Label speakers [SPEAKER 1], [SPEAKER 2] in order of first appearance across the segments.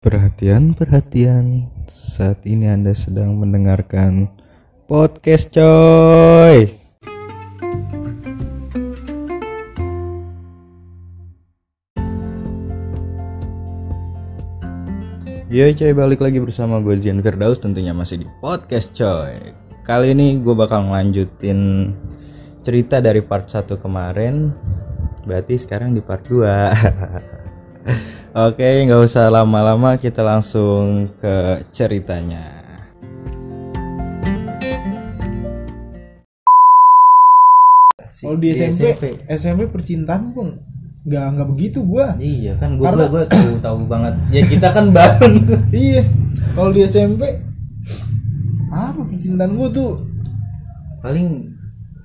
[SPEAKER 1] Perhatian, perhatian. Saat ini Anda sedang mendengarkan podcast coy. Yo coy, balik lagi bersama gue Zian Firdaus tentunya masih di podcast coy. Kali ini gue bakal ngelanjutin cerita dari part 1 kemarin. Berarti sekarang di part 2. Oke, nggak usah lama-lama, kita langsung ke ceritanya.
[SPEAKER 2] Kalau di SMP, SMP, percintaan pun nggak nggak begitu gua.
[SPEAKER 3] Iya kan gua
[SPEAKER 2] Karena-
[SPEAKER 3] gua, gua tahu tahu banget. Ya kita kan bareng.
[SPEAKER 2] iya. Kalau di SMP apa percintaan gua tuh?
[SPEAKER 3] Paling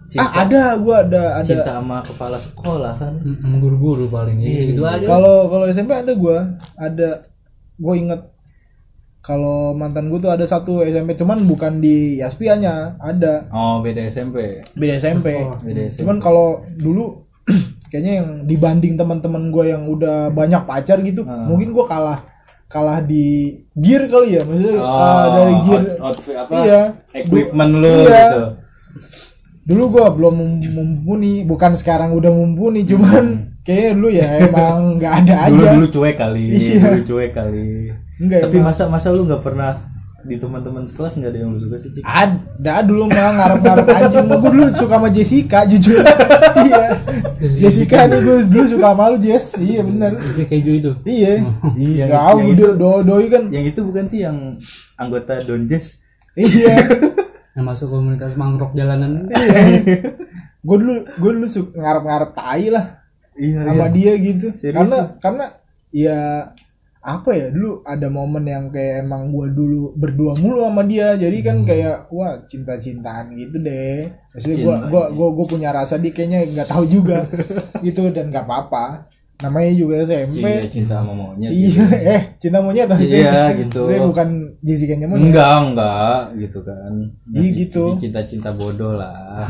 [SPEAKER 3] cinta,
[SPEAKER 2] Ah ada gua ada ada.
[SPEAKER 3] cinta sama kepala sekolah kan.
[SPEAKER 4] sama guru-guru paling
[SPEAKER 3] Iya.
[SPEAKER 4] gitu, gitu aja
[SPEAKER 2] Kalau kalau SMP ada gua, ada gua inget kalau mantan gua tuh ada satu SMP cuman bukan di Yaspianya, ada
[SPEAKER 3] Oh, beda SMP.
[SPEAKER 2] beda SMP.
[SPEAKER 3] Beda SMP.
[SPEAKER 2] Cuman kalau dulu kayaknya yang dibanding teman-teman gue yang udah banyak pacar gitu,
[SPEAKER 3] Ah.
[SPEAKER 2] mungkin gue kalah kalah di gear kali ya, maksudnya
[SPEAKER 3] Oh,
[SPEAKER 2] uh, dari gear.
[SPEAKER 3] out- outfit apa?
[SPEAKER 2] Iya.
[SPEAKER 3] Equipment lu
[SPEAKER 2] Iya.
[SPEAKER 3] gitu.
[SPEAKER 2] Dulu gue belum mem- mumpuni, bukan sekarang udah mumpuni, cuman
[SPEAKER 3] Hmm.
[SPEAKER 2] kayaknya dulu ya emang nggak ada aja.
[SPEAKER 3] Dulu dulu cuek kali,
[SPEAKER 2] Iya.
[SPEAKER 3] dulu cuek kali.
[SPEAKER 2] Enggak,
[SPEAKER 3] Tapi
[SPEAKER 2] emang.
[SPEAKER 3] masa masa lu nggak pernah di teman-teman sekelas nggak ada yang lu suka sih, Cik?
[SPEAKER 2] Ada dulu mah ngarep-ngarep anjing Gue dulu suka sama Jessica jujur Iya Jessica nih gue dulu suka sama lu Jess Iya bener
[SPEAKER 4] bisa kayak gitu itu
[SPEAKER 2] Iya Iya
[SPEAKER 3] Yang-
[SPEAKER 2] tahu
[SPEAKER 3] yang
[SPEAKER 2] do- do- doi kan
[SPEAKER 3] Yang itu bukan sih yang anggota Donjes?
[SPEAKER 2] Iya
[SPEAKER 4] yang masuk komunitas mangrok jalanan
[SPEAKER 2] gue dulu gue dulu suka ngarep-ngarep tai lah
[SPEAKER 3] Iya, iya.
[SPEAKER 2] sama dia gitu
[SPEAKER 3] Serius
[SPEAKER 2] karena
[SPEAKER 3] lu?
[SPEAKER 2] karena ya apa ya dulu ada momen yang kayak emang gue dulu berdua mulu sama dia jadi
[SPEAKER 3] Hmm.
[SPEAKER 2] kan kayak wah cinta-cintaan gitu deh maksudnya gue
[SPEAKER 3] Cinta, iya.
[SPEAKER 2] gua gua gua punya rasa dia kayaknya nggak tahu juga gitu dan nggak apa-apa namanya juga
[SPEAKER 3] Iya,
[SPEAKER 2] SMP
[SPEAKER 3] cinta sama gitu. monyet.
[SPEAKER 2] iya eh cinta monyet tapi
[SPEAKER 3] Iya, gitu.
[SPEAKER 2] Dia bukan Jessica nya monyet
[SPEAKER 3] Enggak, enggak gitu kan.
[SPEAKER 2] ya? Iya,
[SPEAKER 3] Masih
[SPEAKER 2] gitu.
[SPEAKER 3] masih Cinta-cinta bodoh lah.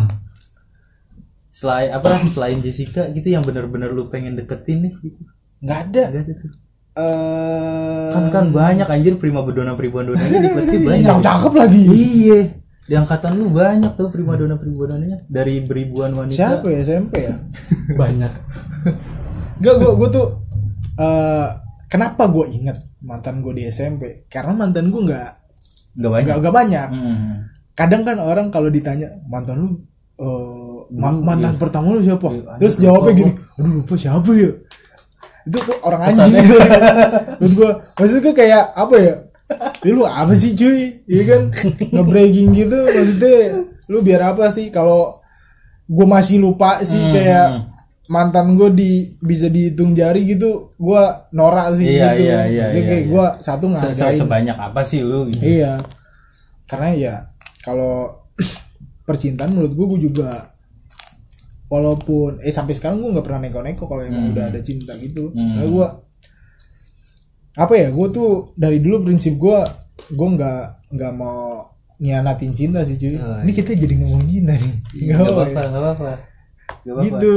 [SPEAKER 3] Selain apa? Selain Jessica gitu yang bener-bener lu pengen deketin nih gitu.
[SPEAKER 2] nggak ada
[SPEAKER 3] Enggak itu.
[SPEAKER 2] eh
[SPEAKER 3] Kan kan banyak anjir prima dona prima donanya di kelas dia banyak.
[SPEAKER 2] cakep Eh, lagi
[SPEAKER 3] Iya. Di angkatan lu banyak tuh prima dona prima donanya dari beribuan wanita.
[SPEAKER 2] siapa ya SMP ya
[SPEAKER 4] banyak
[SPEAKER 2] Gak gue gue tuh eh kenapa gue inget mantan gue di SMP? Karena mantan gue nggak
[SPEAKER 3] Enggak banyak.
[SPEAKER 2] nggak nggak banyak.
[SPEAKER 3] Hmm.
[SPEAKER 2] Kadang kan orang kalau ditanya mantan lu eh, ma-
[SPEAKER 3] Dulu,
[SPEAKER 2] mantan pertama lu siapa?
[SPEAKER 3] Iya,
[SPEAKER 2] Terus
[SPEAKER 3] anjir,
[SPEAKER 2] jawabnya
[SPEAKER 3] lupa
[SPEAKER 2] gini, aduh lupa siapa ya? Itu tuh orang anjing.
[SPEAKER 3] Kesannya.
[SPEAKER 2] Menurut gue, maksud gue kayak apa ya? Ya, lu apa sih cuy? Iya kan nge-breaking gitu maksudnya lu biar apa sih kalau gue masih lupa sih
[SPEAKER 3] Hmm.
[SPEAKER 2] kayak mantan gue di bisa dihitung jari gitu gue norak sih
[SPEAKER 3] Iya,
[SPEAKER 2] gitu
[SPEAKER 3] iya, iya,
[SPEAKER 2] Jadi
[SPEAKER 3] iya,
[SPEAKER 2] kayak
[SPEAKER 3] iya.
[SPEAKER 2] gue satu
[SPEAKER 3] Se- se-
[SPEAKER 2] ngargain
[SPEAKER 3] Sebanyak apa sih lu gitu?
[SPEAKER 2] iya karena ya kalau percintaan menurut gue gue juga walaupun eh sampai sekarang gue nggak pernah neko-neko kalau
[SPEAKER 3] Hmm.
[SPEAKER 2] emang udah ada cinta gitu Karena gue apa ya gue tuh dari dulu prinsip gue gue nggak nggak mau nyianatin cinta sih cuy
[SPEAKER 3] Oh,
[SPEAKER 2] ini kita jadi ngomong cinta nih
[SPEAKER 3] Enggak
[SPEAKER 2] Nggak apa-apa.
[SPEAKER 3] iya. apa-apa, enggak apa-apa. Enggak apa-apa.
[SPEAKER 2] gitu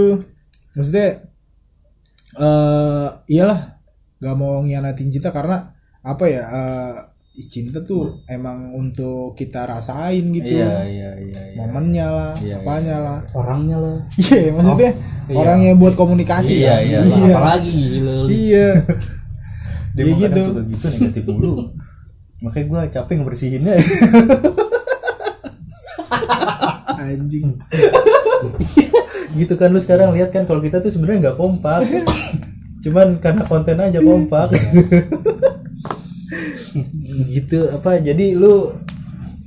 [SPEAKER 2] maksudnya eh iyalah nggak mau ngianatin cinta karena apa ya eh cinta tuh emang untuk kita rasain gitu
[SPEAKER 3] Iya, iya, iya, iya.
[SPEAKER 2] momennya lah
[SPEAKER 3] Iya, Oh,
[SPEAKER 2] apanya lah
[SPEAKER 4] orangnya lah
[SPEAKER 2] iya maksudnya orangnya buat komunikasi
[SPEAKER 3] Iya,
[SPEAKER 2] kan?
[SPEAKER 3] iya,
[SPEAKER 4] Lah,
[SPEAKER 2] iya
[SPEAKER 4] apalagi gila lu.
[SPEAKER 2] iya
[SPEAKER 3] Dia
[SPEAKER 2] Ya
[SPEAKER 3] mau kadang
[SPEAKER 2] gitu.
[SPEAKER 3] suka gitu negatif mulu. Makanya gue capek ngebersihinnya.
[SPEAKER 2] anjing
[SPEAKER 3] gitu kan lu sekarang lihat kan kalau kita tuh sebenarnya nggak kompak. Cuman karena konten aja kompak. gitu apa jadi lu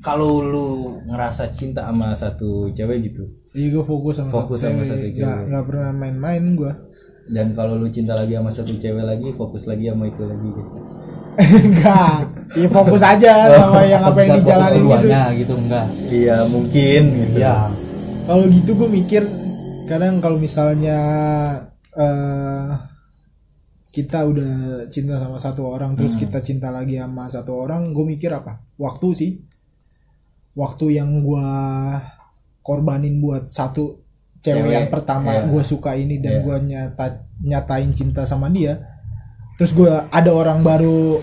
[SPEAKER 3] kalau lu ngerasa cinta sama satu cewek gitu
[SPEAKER 2] iya gue fokus sama
[SPEAKER 3] Fokus sama
[SPEAKER 2] cewek.
[SPEAKER 3] satu cewek.
[SPEAKER 2] Nggak- nggak pernah main-main gue
[SPEAKER 3] dan kalau lu cinta lagi sama satu cewek lagi fokus lagi sama itu lagi gitu.
[SPEAKER 2] enggak ya fokus aja sama yang apa yang
[SPEAKER 4] Bisa fokus
[SPEAKER 2] dijalanin gitu
[SPEAKER 4] keduanya gitu enggak
[SPEAKER 3] Iya mungkin gitu.
[SPEAKER 2] Iya.
[SPEAKER 4] ya
[SPEAKER 2] kalau gitu gue mikir kadang kalau misalnya eh kita udah cinta sama satu orang terus
[SPEAKER 3] Hmm.
[SPEAKER 2] kita cinta lagi sama satu orang gue mikir apa waktu sih waktu yang gue korbanin buat satu cewek,
[SPEAKER 3] Cewek,
[SPEAKER 2] yang pertama
[SPEAKER 3] iya.
[SPEAKER 2] gue suka ini dan
[SPEAKER 3] Iya.
[SPEAKER 2] gue nyata nyatain cinta sama dia terus gue ada orang baru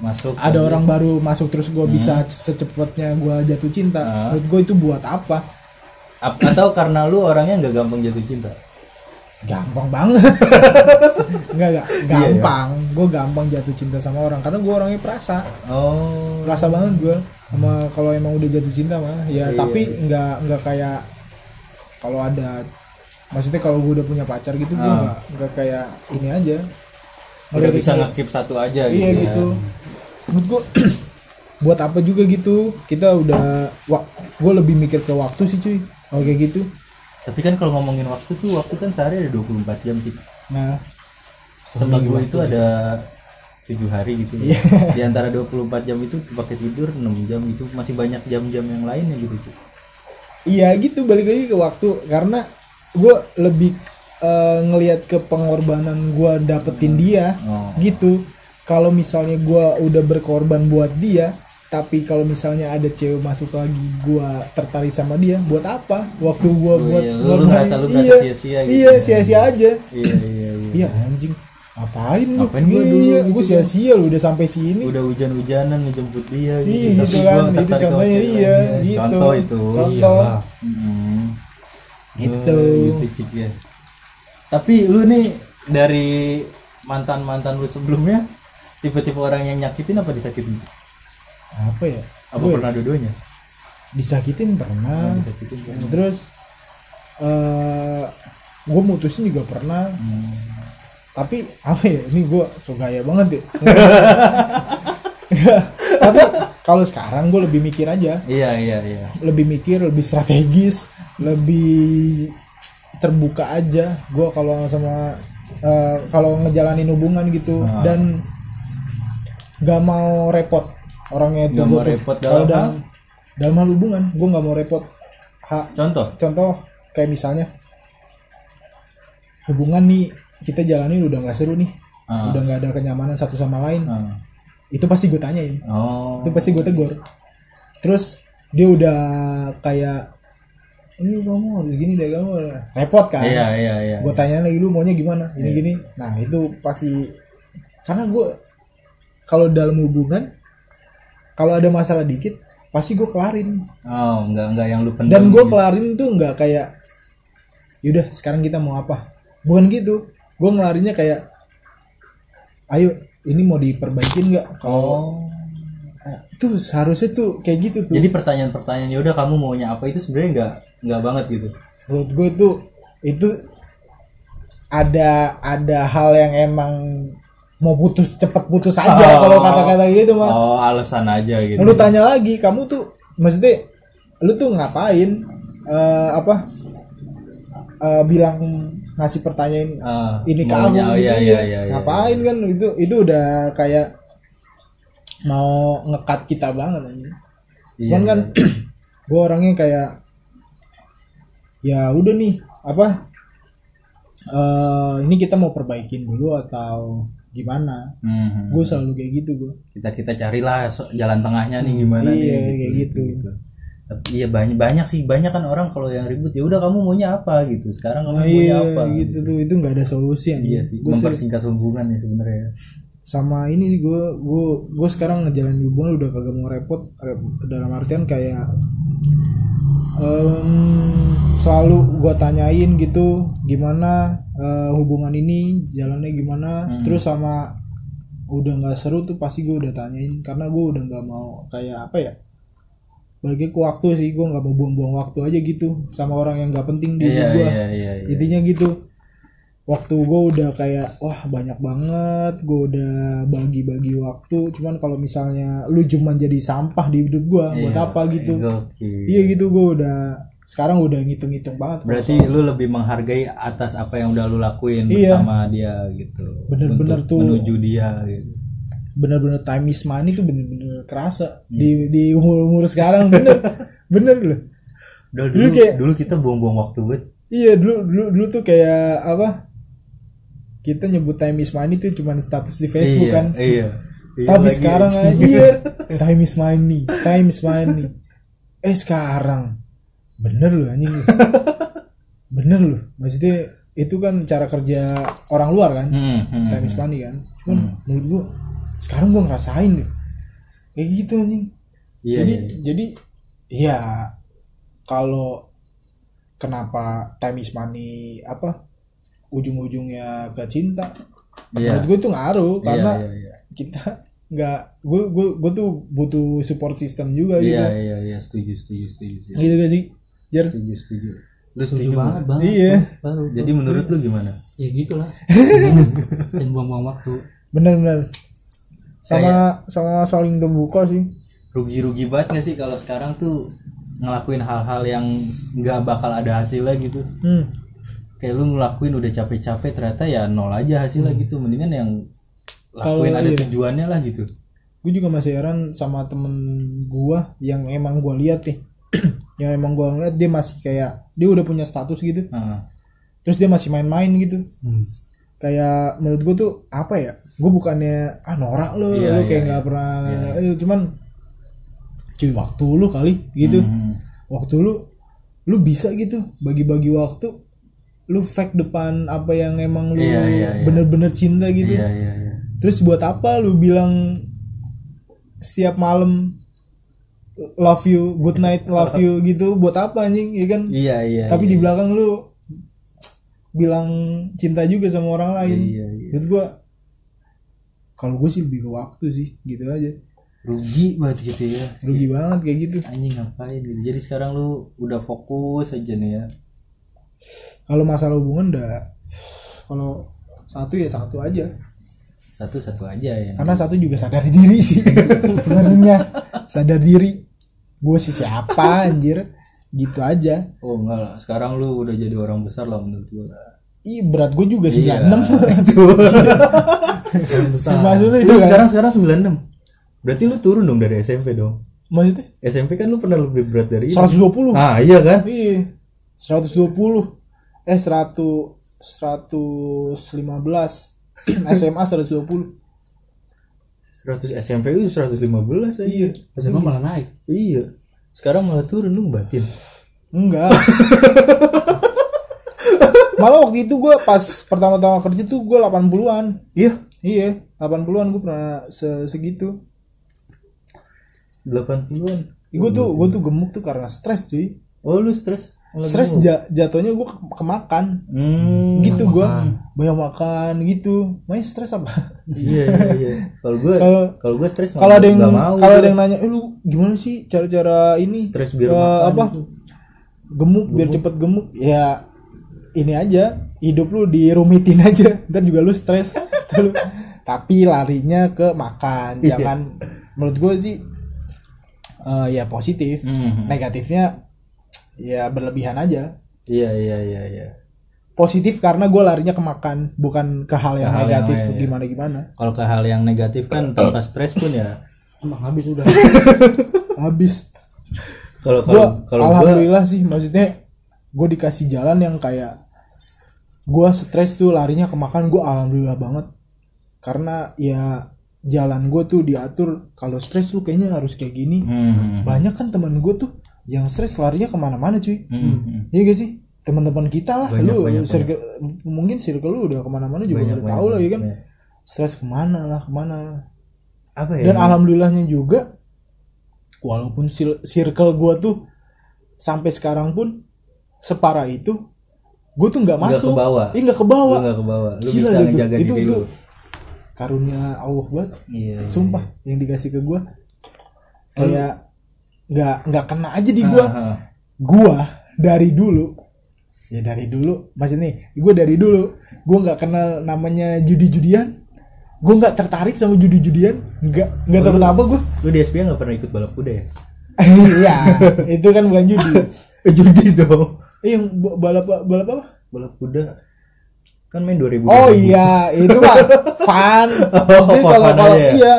[SPEAKER 3] masuk
[SPEAKER 2] ada orang baru masuk terus gue bisa
[SPEAKER 3] Hmm.
[SPEAKER 2] secepatnya gue jatuh cinta
[SPEAKER 3] Ah.
[SPEAKER 2] menurut gue itu buat apa
[SPEAKER 3] Ap- atau karena lu orangnya nggak gampang jatuh cinta
[SPEAKER 2] gampang banget nggak
[SPEAKER 3] Iya,
[SPEAKER 2] nggak gampang gue gampang jatuh cinta sama orang karena gue orangnya perasa
[SPEAKER 3] oh
[SPEAKER 2] perasa banget gue sama kalau emang udah jatuh cinta mah ya
[SPEAKER 3] Hmm. Iya,
[SPEAKER 2] tapi nggak nggak kayak kalau ada maksudnya kalau gue udah punya pacar gitu gue
[SPEAKER 3] Ah.
[SPEAKER 2] nggak nggak kayak ini aja
[SPEAKER 3] udah bisa
[SPEAKER 2] Ngelirik-
[SPEAKER 3] ngekip satu aja gitu
[SPEAKER 2] iya
[SPEAKER 3] ya.
[SPEAKER 2] gitu menurut gua buat apa juga gitu kita udah wa, gue lebih mikir ke waktu sih cuy kalau kayak gitu
[SPEAKER 3] tapi kan kalau ngomongin waktu tuh waktu kan sehari ada 24 jam cik
[SPEAKER 2] nah
[SPEAKER 3] seminggu itu
[SPEAKER 2] gitu?
[SPEAKER 3] ada tujuh hari gitu
[SPEAKER 2] Iya.
[SPEAKER 3] ya. di antara 24 jam itu pakai tidur 6 jam itu masih banyak jam-jam yang lainnya gitu cik
[SPEAKER 2] iya gitu balik lagi ke waktu karena gua lebih eh, ngelihat ke pengorbanan gua dapetin dia
[SPEAKER 3] oh
[SPEAKER 2] gitu kalau misalnya gua udah berkorban buat dia tapi kalau misalnya ada cewek masuk lagi gua tertarik sama dia buat apa waktu gua
[SPEAKER 3] Oh
[SPEAKER 2] buat
[SPEAKER 3] iya, lu- lu
[SPEAKER 2] ngorbanin-
[SPEAKER 3] ngerasa- lu ngerasa
[SPEAKER 2] iya,
[SPEAKER 3] sia-sia gitu.
[SPEAKER 2] iya sia-sia aja
[SPEAKER 3] iya iya iya
[SPEAKER 2] Iya anjing. Ngapain lu?
[SPEAKER 3] Ngapain gua dulu
[SPEAKER 2] Iya,
[SPEAKER 3] gitu
[SPEAKER 2] gua
[SPEAKER 3] kan.
[SPEAKER 2] sia-sia lu udah sampai sini.
[SPEAKER 3] udah hujan-hujanan ngejemput dia
[SPEAKER 2] Iya
[SPEAKER 3] tapi
[SPEAKER 2] gitu
[SPEAKER 3] gua
[SPEAKER 2] kan.
[SPEAKER 3] tertarik
[SPEAKER 2] Itu
[SPEAKER 3] sama
[SPEAKER 2] contohnya
[SPEAKER 3] cewek
[SPEAKER 2] iya
[SPEAKER 3] lain.
[SPEAKER 2] gitu.
[SPEAKER 3] contoh itu
[SPEAKER 2] Contoh.
[SPEAKER 3] Mm.
[SPEAKER 2] Gitu.
[SPEAKER 3] Eh, gitu cik ya tapi lu nih dari mantan mantan lu sebelumnya tipe-tipe orang yang nyakitin apa disakitin Cik?
[SPEAKER 2] Apa ya?
[SPEAKER 3] apa
[SPEAKER 2] Gua
[SPEAKER 3] pernah dua-duanya
[SPEAKER 2] disakitin pernah.
[SPEAKER 3] disakitin kan?
[SPEAKER 2] Terus eh gua mutusin juga pernah.
[SPEAKER 3] Hmm.
[SPEAKER 2] Tapi apa ya? Ini gua suka ya banget ya. tapi kalau sekarang gua lebih mikir aja.
[SPEAKER 3] iya iya iya
[SPEAKER 2] lebih mikir, lebih strategis, lebih terbuka aja. Gue kalau sama eh, kalau ngejalanin hubungan gitu
[SPEAKER 3] Ah.
[SPEAKER 2] dan gak mau repot orangnya itu
[SPEAKER 3] Nggak
[SPEAKER 2] gua
[SPEAKER 3] mau
[SPEAKER 2] tuh.
[SPEAKER 3] repot
[SPEAKER 2] Kalau
[SPEAKER 3] dalam
[SPEAKER 2] dalam dalam hal hubungan gue nggak mau repot. Ha,
[SPEAKER 3] contoh
[SPEAKER 2] contoh kayak misalnya hubungan nih kita jalanin udah nggak seru nih,
[SPEAKER 3] Ah.
[SPEAKER 2] udah nggak ada kenyamanan satu sama lain.
[SPEAKER 3] Ah.
[SPEAKER 2] Itu pasti gue tanyain
[SPEAKER 3] oh
[SPEAKER 2] itu pasti gue tegur terus dia udah kayak ini kamu harus gini deh kamu repot kan
[SPEAKER 3] iya iya iya
[SPEAKER 2] gue tanyain lagi lu maunya gimana gini gini nah itu pasti karena gue kalau dalam hubungan kalau ada masalah dikit pasti gue kelarin
[SPEAKER 3] oh nggak nggak yang lu pendam
[SPEAKER 2] dan gue
[SPEAKER 3] gitu.
[SPEAKER 2] kelarin tuh nggak kayak yaudah sekarang kita mau apa bukan gitu gue ngelarinnya kayak ayo ini mau diperbaikin nggak kalau
[SPEAKER 3] oh
[SPEAKER 2] tuh seharusnya tuh kayak gitu tuh
[SPEAKER 3] jadi pertanyaan-pertanyaan yaudah kamu maunya apa itu sebenarnya nggak nggak banget gitu
[SPEAKER 2] menurut gue itu itu ada ada hal yang emang mau putus cepet putus aja
[SPEAKER 3] Oh.
[SPEAKER 2] kalau kata-kata gitu mah
[SPEAKER 3] oh alasan aja gitu
[SPEAKER 2] lu tanya lagi kamu tuh maksudnya lu tuh ngapain Eh, apa Eh, bilang ngasih pertanyaan
[SPEAKER 3] Ah,
[SPEAKER 2] ini ke aku
[SPEAKER 3] maunya, oh,
[SPEAKER 2] gitu
[SPEAKER 3] iya,
[SPEAKER 2] ya.
[SPEAKER 3] iya, iya, iya.
[SPEAKER 2] ngapain kan itu itu udah kayak mau ngekat kita banget anjing
[SPEAKER 3] Iya,
[SPEAKER 2] Cuman kan
[SPEAKER 3] iya.
[SPEAKER 2] gue orangnya kayak ya udah nih apa eh ini kita mau perbaikin dulu atau gimana?
[SPEAKER 3] Mhm.
[SPEAKER 2] Gue selalu kayak gitu gue.
[SPEAKER 3] kita kita carilah so- jalan tengahnya nih gimana nih
[SPEAKER 2] iya, kayak gitu.
[SPEAKER 3] Tapi iya banyak banyak sih banyak kan orang kalau yang ribut ya udah kamu maunya apa gitu sekarang kamu
[SPEAKER 2] Nah,
[SPEAKER 3] maunya
[SPEAKER 2] iya
[SPEAKER 3] apa
[SPEAKER 2] gitu tuh itu nggak ada solusi anjing.
[SPEAKER 3] iya sih
[SPEAKER 2] Gua se-
[SPEAKER 3] mempersingkat hubungan ya sebenarnya
[SPEAKER 2] sama ini gue gue gue sekarang ngejalanin hubungan udah kagak mau repot rep- dalam artian kayak em, selalu gue tanyain gitu gimana eh, hubungan ini jalannya gimana
[SPEAKER 3] Hmm.
[SPEAKER 2] terus sama udah nggak seru tuh pasti gue udah tanyain karena gue udah nggak mau kayak apa ya bagi ke waktu sih gue nggak mau buang-buang waktu aja gitu sama orang yang nggak penting
[SPEAKER 3] iya
[SPEAKER 2] di hidup gue
[SPEAKER 3] iya iya iya.
[SPEAKER 2] intinya gitu waktu gue udah kayak wah banyak banget gue udah bagi-bagi waktu cuman kalau misalnya lu cuman jadi sampah di hidup gue buat
[SPEAKER 3] Iya,
[SPEAKER 2] apa gitu
[SPEAKER 3] gokil.
[SPEAKER 2] iya gitu gue udah sekarang udah ngitung-ngitung banget
[SPEAKER 3] berarti lu lebih menghargai atas apa yang udah lu lakuin
[SPEAKER 2] Iya.
[SPEAKER 3] bersama dia gitu
[SPEAKER 2] Bener-bener
[SPEAKER 3] Untuk
[SPEAKER 2] tuh.
[SPEAKER 3] menuju dia gitu
[SPEAKER 2] bener-bener time is money tuh bener-bener kerasa
[SPEAKER 3] Iya.
[SPEAKER 2] di di umur umur sekarang bener bener loh
[SPEAKER 3] Udah,
[SPEAKER 2] Dulu
[SPEAKER 3] dulu
[SPEAKER 2] kayak-
[SPEAKER 3] dulu kita buang-buang waktu buat
[SPEAKER 2] iya dulu dulu dulu tuh kayak apa kita nyebut time is money tuh cuman status di Facebook
[SPEAKER 3] iya,
[SPEAKER 2] kan
[SPEAKER 3] iya Iya,
[SPEAKER 2] Tapi
[SPEAKER 3] lagi.
[SPEAKER 2] sekarang aja iya, time is money, time is money. Eh sekarang bener lu anjing lu. bener lu. Maksudnya itu kan cara kerja orang luar kan,
[SPEAKER 3] Hmm, hmm.
[SPEAKER 2] time is money kan. Cuman menurut gua sekarang gue ngerasain deh kayak gitu anjing
[SPEAKER 3] Iya,
[SPEAKER 2] jadi
[SPEAKER 3] iya, iya.
[SPEAKER 2] jadi ya kalau kenapa time is money apa ujung-ujungnya ke cinta
[SPEAKER 3] Iya.
[SPEAKER 2] menurut gue itu ngaruh
[SPEAKER 3] Iya,
[SPEAKER 2] karena gitu.
[SPEAKER 3] iya, iya.
[SPEAKER 2] kita nggak gue gue gue tuh butuh support system
[SPEAKER 3] Iya,
[SPEAKER 2] juga gitu
[SPEAKER 3] iya, iya, setuju, setuju, setuju. Setuju,
[SPEAKER 2] gitu gak sih Jer
[SPEAKER 3] setuju. setuju. Lu
[SPEAKER 4] Setuju banget
[SPEAKER 3] nggak?
[SPEAKER 4] banget.
[SPEAKER 2] Iya.
[SPEAKER 4] Baru.
[SPEAKER 3] Jadi menurut lu gimana?
[SPEAKER 4] ya gitulah. Dan buang-buang waktu.
[SPEAKER 2] bener-bener sama sama saling terbuka sih
[SPEAKER 3] Rugi-rugi banget gak sih kalau sekarang tuh ngelakuin hal-hal yang nggak bakal ada hasilnya gitu?
[SPEAKER 2] hmm.
[SPEAKER 3] Kayak lu ngelakuin udah capek-capek ternyata ya nol aja hasilnya gitu. Mendingan yang lakuin
[SPEAKER 2] Kalau
[SPEAKER 3] ada
[SPEAKER 2] iya.
[SPEAKER 3] tujuannya lah gitu.
[SPEAKER 2] gue juga masih heran sama temen gua yang emang gua lihat nih yang emang gua lihat dia masih kayak dia udah punya status gitu
[SPEAKER 3] Heeh.
[SPEAKER 2] terus dia masih main-main gitu
[SPEAKER 3] Hmm.
[SPEAKER 2] kayak menurut gua tuh apa ya gue bukannya ah norak lo
[SPEAKER 3] Iya,
[SPEAKER 2] lo kayak
[SPEAKER 3] iya,
[SPEAKER 2] nggak pernah eh, cuman cuy waktu lu kali gitu
[SPEAKER 3] Hmm.
[SPEAKER 2] waktu lu lu bisa gitu bagi-bagi waktu lu fake depan apa yang emang lu
[SPEAKER 3] Iya, iya, iya.
[SPEAKER 2] bener-bener cinta gitu
[SPEAKER 3] Iya, iya, iya.
[SPEAKER 2] Terus buat apa lu bilang setiap malam love you, good night, love you gitu? Buat apa anjing, ya kan?
[SPEAKER 3] Iya, iya.
[SPEAKER 2] Tapi
[SPEAKER 3] iya.
[SPEAKER 2] di belakang lu bilang cinta juga sama orang lain.
[SPEAKER 3] Iya, iya.
[SPEAKER 2] Menurut gua kalau gue sih lebih ke waktu sih, gitu aja.
[SPEAKER 3] rugi banget gitu ya.
[SPEAKER 2] Rugi banget kayak gitu.
[SPEAKER 3] Anjing ngapain gitu. Jadi sekarang lu udah fokus aja nih ya.
[SPEAKER 2] Kalau masalah hubungan udah kalau satu ya satu aja.
[SPEAKER 3] Satu-satu aja ya.
[SPEAKER 2] Karena satu juga sadar diri sih sebenarnya. sadar diri. Gue sih siapa anjir? Gitu aja.
[SPEAKER 3] Oh enggak lah, sekarang lu udah jadi orang besar lah menurut gua.
[SPEAKER 2] Ih berat gue juga 96
[SPEAKER 3] Iya,
[SPEAKER 4] Yang besar.
[SPEAKER 2] Maksudnya itu
[SPEAKER 3] Lu
[SPEAKER 2] kan?
[SPEAKER 3] sekarang sekarang 96. Berarti lu turun dong dari SMP dong.
[SPEAKER 2] Maksudnya
[SPEAKER 3] SMP kan lu pernah lebih berat dari ini.
[SPEAKER 2] 120
[SPEAKER 3] Nah, iya kan?
[SPEAKER 2] Iya 120 Eh 100 115 SMA 120
[SPEAKER 3] 100 SMP lu 115 aja. Iya.
[SPEAKER 4] SMA malah naik.
[SPEAKER 3] Iya. Sekarang malah turun lu batin.
[SPEAKER 2] Enggak Malah waktu itu gue pas pertama-tama kerja tuh gue 80an
[SPEAKER 3] Iya.
[SPEAKER 2] Iya 80an gue pernah se- segitu
[SPEAKER 3] 80-an.
[SPEAKER 2] Gue tuh gue tuh gemuk tuh karena stres cuy
[SPEAKER 3] Oh, lu stres.
[SPEAKER 2] Stres ja- jatuhnya gue ke- kemakan
[SPEAKER 3] Hmm.
[SPEAKER 2] gitu gua banyak makan gitu main stres apa
[SPEAKER 3] iya, iya, iya. Kalau gua
[SPEAKER 2] Kalau-
[SPEAKER 3] kalau gua stres
[SPEAKER 2] kalau ada yang
[SPEAKER 3] nggak mau.
[SPEAKER 2] kalau ada
[SPEAKER 3] gua.
[SPEAKER 2] yang nanya "Eh, lu gimana sih cara-cara ini
[SPEAKER 3] stres biar
[SPEAKER 2] eh,
[SPEAKER 3] makan
[SPEAKER 2] apa
[SPEAKER 3] gitu.
[SPEAKER 2] gemuk, biar cepet gemuk ya ini aja hidup lu dirumitin aja ntar juga lu stres Ntar lu- tapi larinya ke makan
[SPEAKER 3] Iya.
[SPEAKER 2] jangan menurut gue sih eh, ya positif
[SPEAKER 3] Mhm.
[SPEAKER 2] negatifnya ya berlebihan aja
[SPEAKER 3] Iya, iya, iya, iya.
[SPEAKER 2] positif karena gue larinya ke makan bukan ke hal yang
[SPEAKER 3] hal yang
[SPEAKER 2] negatif
[SPEAKER 3] lain, ya.
[SPEAKER 2] gimana gimana
[SPEAKER 3] Kalau ke hal yang negatif kan tanpa stres pun ya.
[SPEAKER 4] Emang habis udah.
[SPEAKER 2] habis
[SPEAKER 3] Kalau
[SPEAKER 2] gua
[SPEAKER 3] kalau kalau gua
[SPEAKER 2] alhamdulillah sih maksudnya gue dikasih jalan yang kayak gue stres tuh larinya ke makan gue alhamdulillah banget karena ya jalan gue tuh diatur kalau stres lu kayaknya harus kayak gini
[SPEAKER 3] Hmm.
[SPEAKER 2] banyak kan temen gue tuh yang stres larinya kemana-mana cuy
[SPEAKER 3] Hmm.
[SPEAKER 2] iya gak sih teman-teman kita lah
[SPEAKER 3] Banyak,
[SPEAKER 2] lu
[SPEAKER 3] banyak,
[SPEAKER 2] circle- mungkin circle lu udah kemana-mana juga
[SPEAKER 3] Banyak,
[SPEAKER 2] udah
[SPEAKER 3] banyak,
[SPEAKER 2] tahu lah ya kan
[SPEAKER 3] banyak.
[SPEAKER 2] stres kemana lah kemana lah
[SPEAKER 3] Apa ya?
[SPEAKER 2] dan alhamdulillahnya juga walaupun sil- circle gua tuh sampai sekarang pun separah itu gue tuh nggak masuk
[SPEAKER 3] ke bawah.
[SPEAKER 2] Ih, nggak ke
[SPEAKER 3] lu
[SPEAKER 2] bawah
[SPEAKER 3] gak kebawa. Lu
[SPEAKER 2] Gila
[SPEAKER 3] bisa
[SPEAKER 2] deh tuh.
[SPEAKER 3] ngejaga
[SPEAKER 2] Itu-
[SPEAKER 3] diri
[SPEAKER 2] itu
[SPEAKER 3] lu.
[SPEAKER 2] karunia Allah banget
[SPEAKER 3] Iya. iya.
[SPEAKER 2] sumpah yang dikasih ke gua kayak nggak nggak kena aja di gua
[SPEAKER 3] Aha.
[SPEAKER 2] gua dari dulu ya dari dulu maksud nih gue dari dulu gue nggak kenal namanya judi-judian gue nggak tertarik sama judi-judian nggak nggak tahu kenapa gue
[SPEAKER 3] Lu di SBA gak pernah ikut balap kuda ya?
[SPEAKER 2] iya itu kan bukan judi
[SPEAKER 3] Judi dong.
[SPEAKER 2] Eh, yang ba- balap balap apa
[SPEAKER 3] Balap kuda kan main 2000.
[SPEAKER 2] oh iya itu mah fun maksudnya
[SPEAKER 3] fun
[SPEAKER 2] kalau
[SPEAKER 3] Oh, aja
[SPEAKER 2] kalau
[SPEAKER 3] ya?
[SPEAKER 2] iya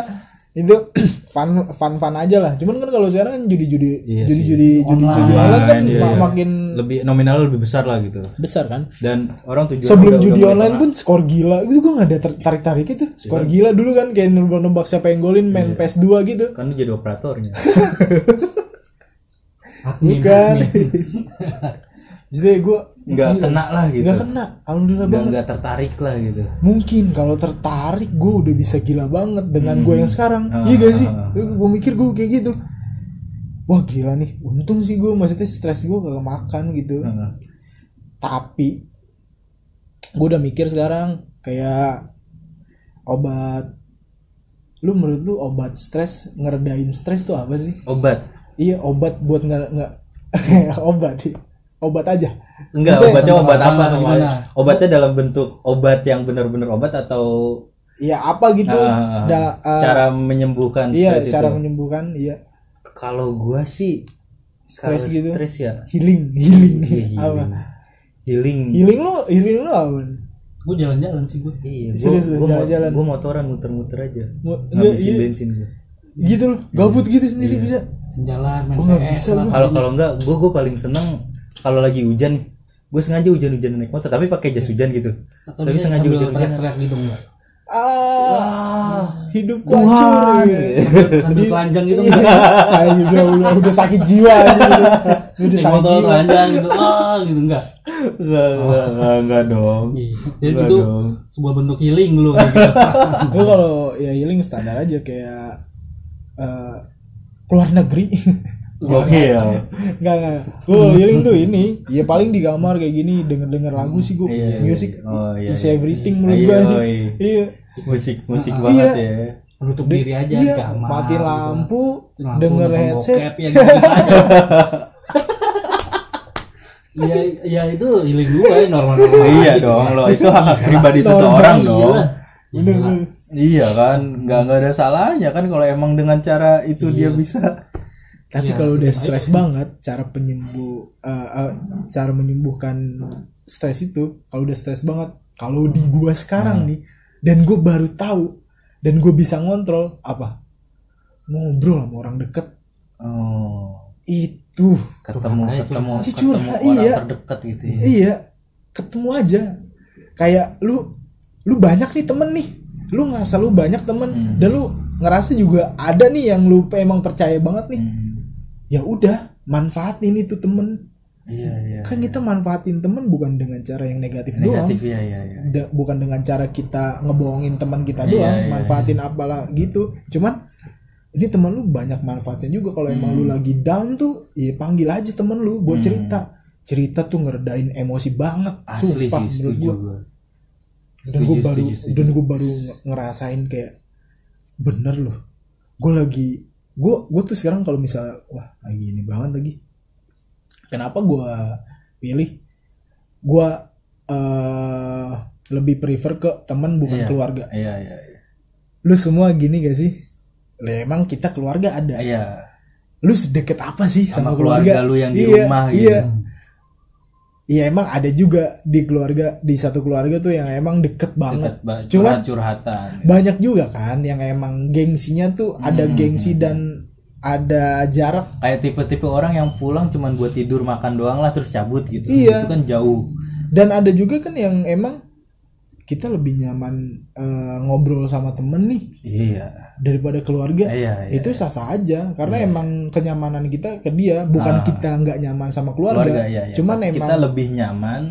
[SPEAKER 2] itu fun fun fun aja lah cuman kan kalau sekarang kan judi judi
[SPEAKER 3] Iya
[SPEAKER 2] judi
[SPEAKER 3] sih.
[SPEAKER 2] judi judi judi online kan
[SPEAKER 3] iya,
[SPEAKER 2] ma-
[SPEAKER 3] iya.
[SPEAKER 2] makin
[SPEAKER 3] lebih nominal lebih besar lah gitu.
[SPEAKER 2] besar kan
[SPEAKER 3] Dan orang tujuan
[SPEAKER 2] sebelum judi online pun skor gila itu gue nggak ada tertarik tarik itu
[SPEAKER 3] Iya.
[SPEAKER 2] skor gila dulu kan kayak nembak nembak siapa yang golin main PS 2 gitu
[SPEAKER 3] kan lu jadi operatornya.
[SPEAKER 4] Admin,
[SPEAKER 2] Bukan.
[SPEAKER 4] admin.
[SPEAKER 2] jadi gue
[SPEAKER 3] nggak kena lah gitu
[SPEAKER 2] Iya. nggak kena alhamdulillah
[SPEAKER 3] nggak
[SPEAKER 2] banget
[SPEAKER 3] nggak tertarik lah gitu
[SPEAKER 2] mungkin kalau tertarik gue udah bisa gila banget dengan
[SPEAKER 3] Hmm.
[SPEAKER 2] gue yang sekarang
[SPEAKER 3] Ah,
[SPEAKER 2] iya gak sih gue mikir gue kayak gitu wah gila nih untung sih gue maksudnya stres gue kagak makan gitu
[SPEAKER 3] Heeh.
[SPEAKER 2] tapi gue udah mikir sekarang kayak obat lu menurut lu obat stres ngeredain stres tuh apa sih
[SPEAKER 3] obat
[SPEAKER 2] iya obat buat nggak nggak obat iya. obat aja
[SPEAKER 3] enggak obatnya obat apa
[SPEAKER 4] apa, gimana?
[SPEAKER 3] obatnya dalam bentuk obat yang benar-benar obat atau
[SPEAKER 2] iya apa gitu
[SPEAKER 3] Ah,
[SPEAKER 2] Da- eh,
[SPEAKER 3] cara menyembuhkan
[SPEAKER 2] iya
[SPEAKER 3] stres
[SPEAKER 2] cara
[SPEAKER 3] itu
[SPEAKER 2] menyembuhkan iya
[SPEAKER 3] kalau gua sih
[SPEAKER 2] Stres
[SPEAKER 3] kalau
[SPEAKER 2] gitu.
[SPEAKER 3] stres ya
[SPEAKER 2] healing healing
[SPEAKER 3] iya,
[SPEAKER 2] apa Iya.
[SPEAKER 3] healing healing
[SPEAKER 2] healing lu healing lu apa
[SPEAKER 4] Gue jalan-jalan sih gue.
[SPEAKER 3] iya
[SPEAKER 2] Serius lu,
[SPEAKER 3] gua, gua,
[SPEAKER 2] jalan-jalan?
[SPEAKER 3] gua motoran muter-muter aja
[SPEAKER 2] Mu- enggak,
[SPEAKER 3] ngabisin
[SPEAKER 2] iya.
[SPEAKER 3] bensin gua
[SPEAKER 2] gitu loh gabut gitu sendiri bisa
[SPEAKER 4] Jalan main
[SPEAKER 2] Gua Oh, nggak
[SPEAKER 4] PS
[SPEAKER 2] bisa,
[SPEAKER 4] lah.
[SPEAKER 2] gua.
[SPEAKER 3] kalau kalau enggak gua gua paling seneng kalau lagi hujan gue sengaja hujan-hujan naik motor tapi pakai jas hujan gitu
[SPEAKER 4] Atau
[SPEAKER 3] tapi
[SPEAKER 4] bisa
[SPEAKER 3] sengaja
[SPEAKER 4] sambil
[SPEAKER 3] hujan-hujan
[SPEAKER 4] teriak-teriak gitu enggak?
[SPEAKER 2] ah
[SPEAKER 3] ah
[SPEAKER 2] hidup hancur iya.
[SPEAKER 4] Sambil, sambil telanjang gitu enggak?
[SPEAKER 2] Kayak gitu, udah, udah, udah sakit jiwa aja udah, udah
[SPEAKER 4] Naik
[SPEAKER 2] sakit
[SPEAKER 4] motor
[SPEAKER 2] jiwa
[SPEAKER 4] telanjang gitu. Ah, gitu enggak.
[SPEAKER 3] enggak enggak enggak, enggak dong
[SPEAKER 4] Oh. Iya. Jadi
[SPEAKER 3] Enggak
[SPEAKER 4] itu
[SPEAKER 3] dong.
[SPEAKER 4] sebuah bentuk healing lu kayak gitu.
[SPEAKER 2] gue kalau ya healing standar aja kayak eh keluar negeri
[SPEAKER 3] oke ya
[SPEAKER 4] Iya.
[SPEAKER 2] nggak nggak gue healing tuh ini ya paling di kamar kayak gini denger denger lagu sih gue
[SPEAKER 3] Iya, iya.
[SPEAKER 2] music
[SPEAKER 3] Oh, iya,
[SPEAKER 2] is
[SPEAKER 3] iya.
[SPEAKER 2] everything menurut
[SPEAKER 3] Iya,
[SPEAKER 2] gue
[SPEAKER 3] iya.
[SPEAKER 2] Ah, iya
[SPEAKER 3] musik
[SPEAKER 4] Ah,
[SPEAKER 3] musik banget
[SPEAKER 4] Iya.
[SPEAKER 3] ya
[SPEAKER 4] Menutup diri aja di
[SPEAKER 2] iya
[SPEAKER 4] kamar.
[SPEAKER 2] mati
[SPEAKER 4] gitu.
[SPEAKER 2] lampu
[SPEAKER 4] Mati lampu,
[SPEAKER 2] denger
[SPEAKER 4] nonton
[SPEAKER 2] headset
[SPEAKER 4] bokep, ya gitu aja. Iya, iya itu healing gue normal-normal. aja
[SPEAKER 3] iya
[SPEAKER 4] gitu.
[SPEAKER 3] dong lo itu hak hak pribadi seseorang dong
[SPEAKER 4] Iya.
[SPEAKER 2] bener
[SPEAKER 4] Gila.
[SPEAKER 2] bener.
[SPEAKER 3] iya kan nggak nggak ada salahnya kan kalau emang dengan cara itu
[SPEAKER 4] Iya.
[SPEAKER 3] dia bisa
[SPEAKER 2] tapi kalau udah stres banget cara penyembuh eh, eh, cara menyembuhkan stres itu kalau udah stres banget kalau di gua sekarang
[SPEAKER 4] Hmm.
[SPEAKER 2] nih dan gue baru tahu dan gue bisa ngontrol apa ngobrol sama orang deket
[SPEAKER 3] oh
[SPEAKER 2] itu
[SPEAKER 3] ketemu
[SPEAKER 4] Curhat aja,
[SPEAKER 3] ketemu
[SPEAKER 4] curhat.
[SPEAKER 2] Si
[SPEAKER 3] ketemu
[SPEAKER 2] curhat,
[SPEAKER 3] orang
[SPEAKER 2] iya.
[SPEAKER 3] terdekat gitu ya
[SPEAKER 2] iya ketemu aja kayak lu lu banyak nih temen nih lu ngerasa lu banyak temen
[SPEAKER 4] Hmm.
[SPEAKER 2] dan lu ngerasa juga ada nih yang lu emang percaya banget nih
[SPEAKER 3] Hmm.
[SPEAKER 2] ya udah manfaatin itu temen
[SPEAKER 3] iya iya
[SPEAKER 2] kan kita manfaatin temen bukan dengan cara yang
[SPEAKER 4] Kan
[SPEAKER 2] negatif,
[SPEAKER 3] negatif
[SPEAKER 2] doang
[SPEAKER 3] iya iya iya
[SPEAKER 2] Da- bukan dengan cara kita ngebohongin teman kita doang
[SPEAKER 3] iya,
[SPEAKER 2] manfaatin apalah gitu cuman ini temen lu banyak manfaatnya juga kalau emang
[SPEAKER 3] Hmm.
[SPEAKER 2] lu lagi down tuh ya panggil aja temen lu buat cerita cerita tuh ngeredain emosi banget
[SPEAKER 3] asli
[SPEAKER 2] sumpah
[SPEAKER 3] sih
[SPEAKER 2] menurut
[SPEAKER 3] setuju
[SPEAKER 2] gua
[SPEAKER 3] gue
[SPEAKER 2] dan
[SPEAKER 3] Setuju,
[SPEAKER 2] gue baru
[SPEAKER 3] setuju, setuju.
[SPEAKER 2] dan gue baru nge- ngerasain kayak bener loh gue lagi gue gue tuh sekarang kalau misalnya wah lagi ini banget lagi kenapa gue pilih gue eh lebih prefer ke teman bukan
[SPEAKER 3] Iya.
[SPEAKER 2] keluarga
[SPEAKER 3] iya iya iya
[SPEAKER 2] lu semua gini gak sih Lah, emang kita keluarga ada
[SPEAKER 3] iya
[SPEAKER 2] lu sedekat apa sih sama,
[SPEAKER 3] Sama keluarga lu yang di
[SPEAKER 2] Iya,
[SPEAKER 3] rumah gitu.
[SPEAKER 2] iya. Iya emang ada juga di keluarga di satu keluarga tuh yang emang deket banget. Cuman
[SPEAKER 3] curhat curhatan
[SPEAKER 2] banyak juga kan yang emang gengsinya tuh ada
[SPEAKER 3] Hmm,
[SPEAKER 2] gengsi dan ada jarak.
[SPEAKER 3] kayak tipe-tipe orang yang pulang cuman buat tidur makan doang lah terus cabut gitu
[SPEAKER 2] Iya.
[SPEAKER 3] itu kan jauh
[SPEAKER 2] Dan ada juga kan yang emang kita lebih nyaman eh, ngobrol sama temen nih
[SPEAKER 3] iya
[SPEAKER 2] daripada keluarga.
[SPEAKER 3] iya iya
[SPEAKER 2] Itu sah-sah aja karena emang kenyamanan kita ke dia bukan kita nggak nyaman sama keluarga.
[SPEAKER 3] Ah. keluarga iya, iya.
[SPEAKER 2] Cuman
[SPEAKER 3] kita
[SPEAKER 2] emang
[SPEAKER 3] lebih nyaman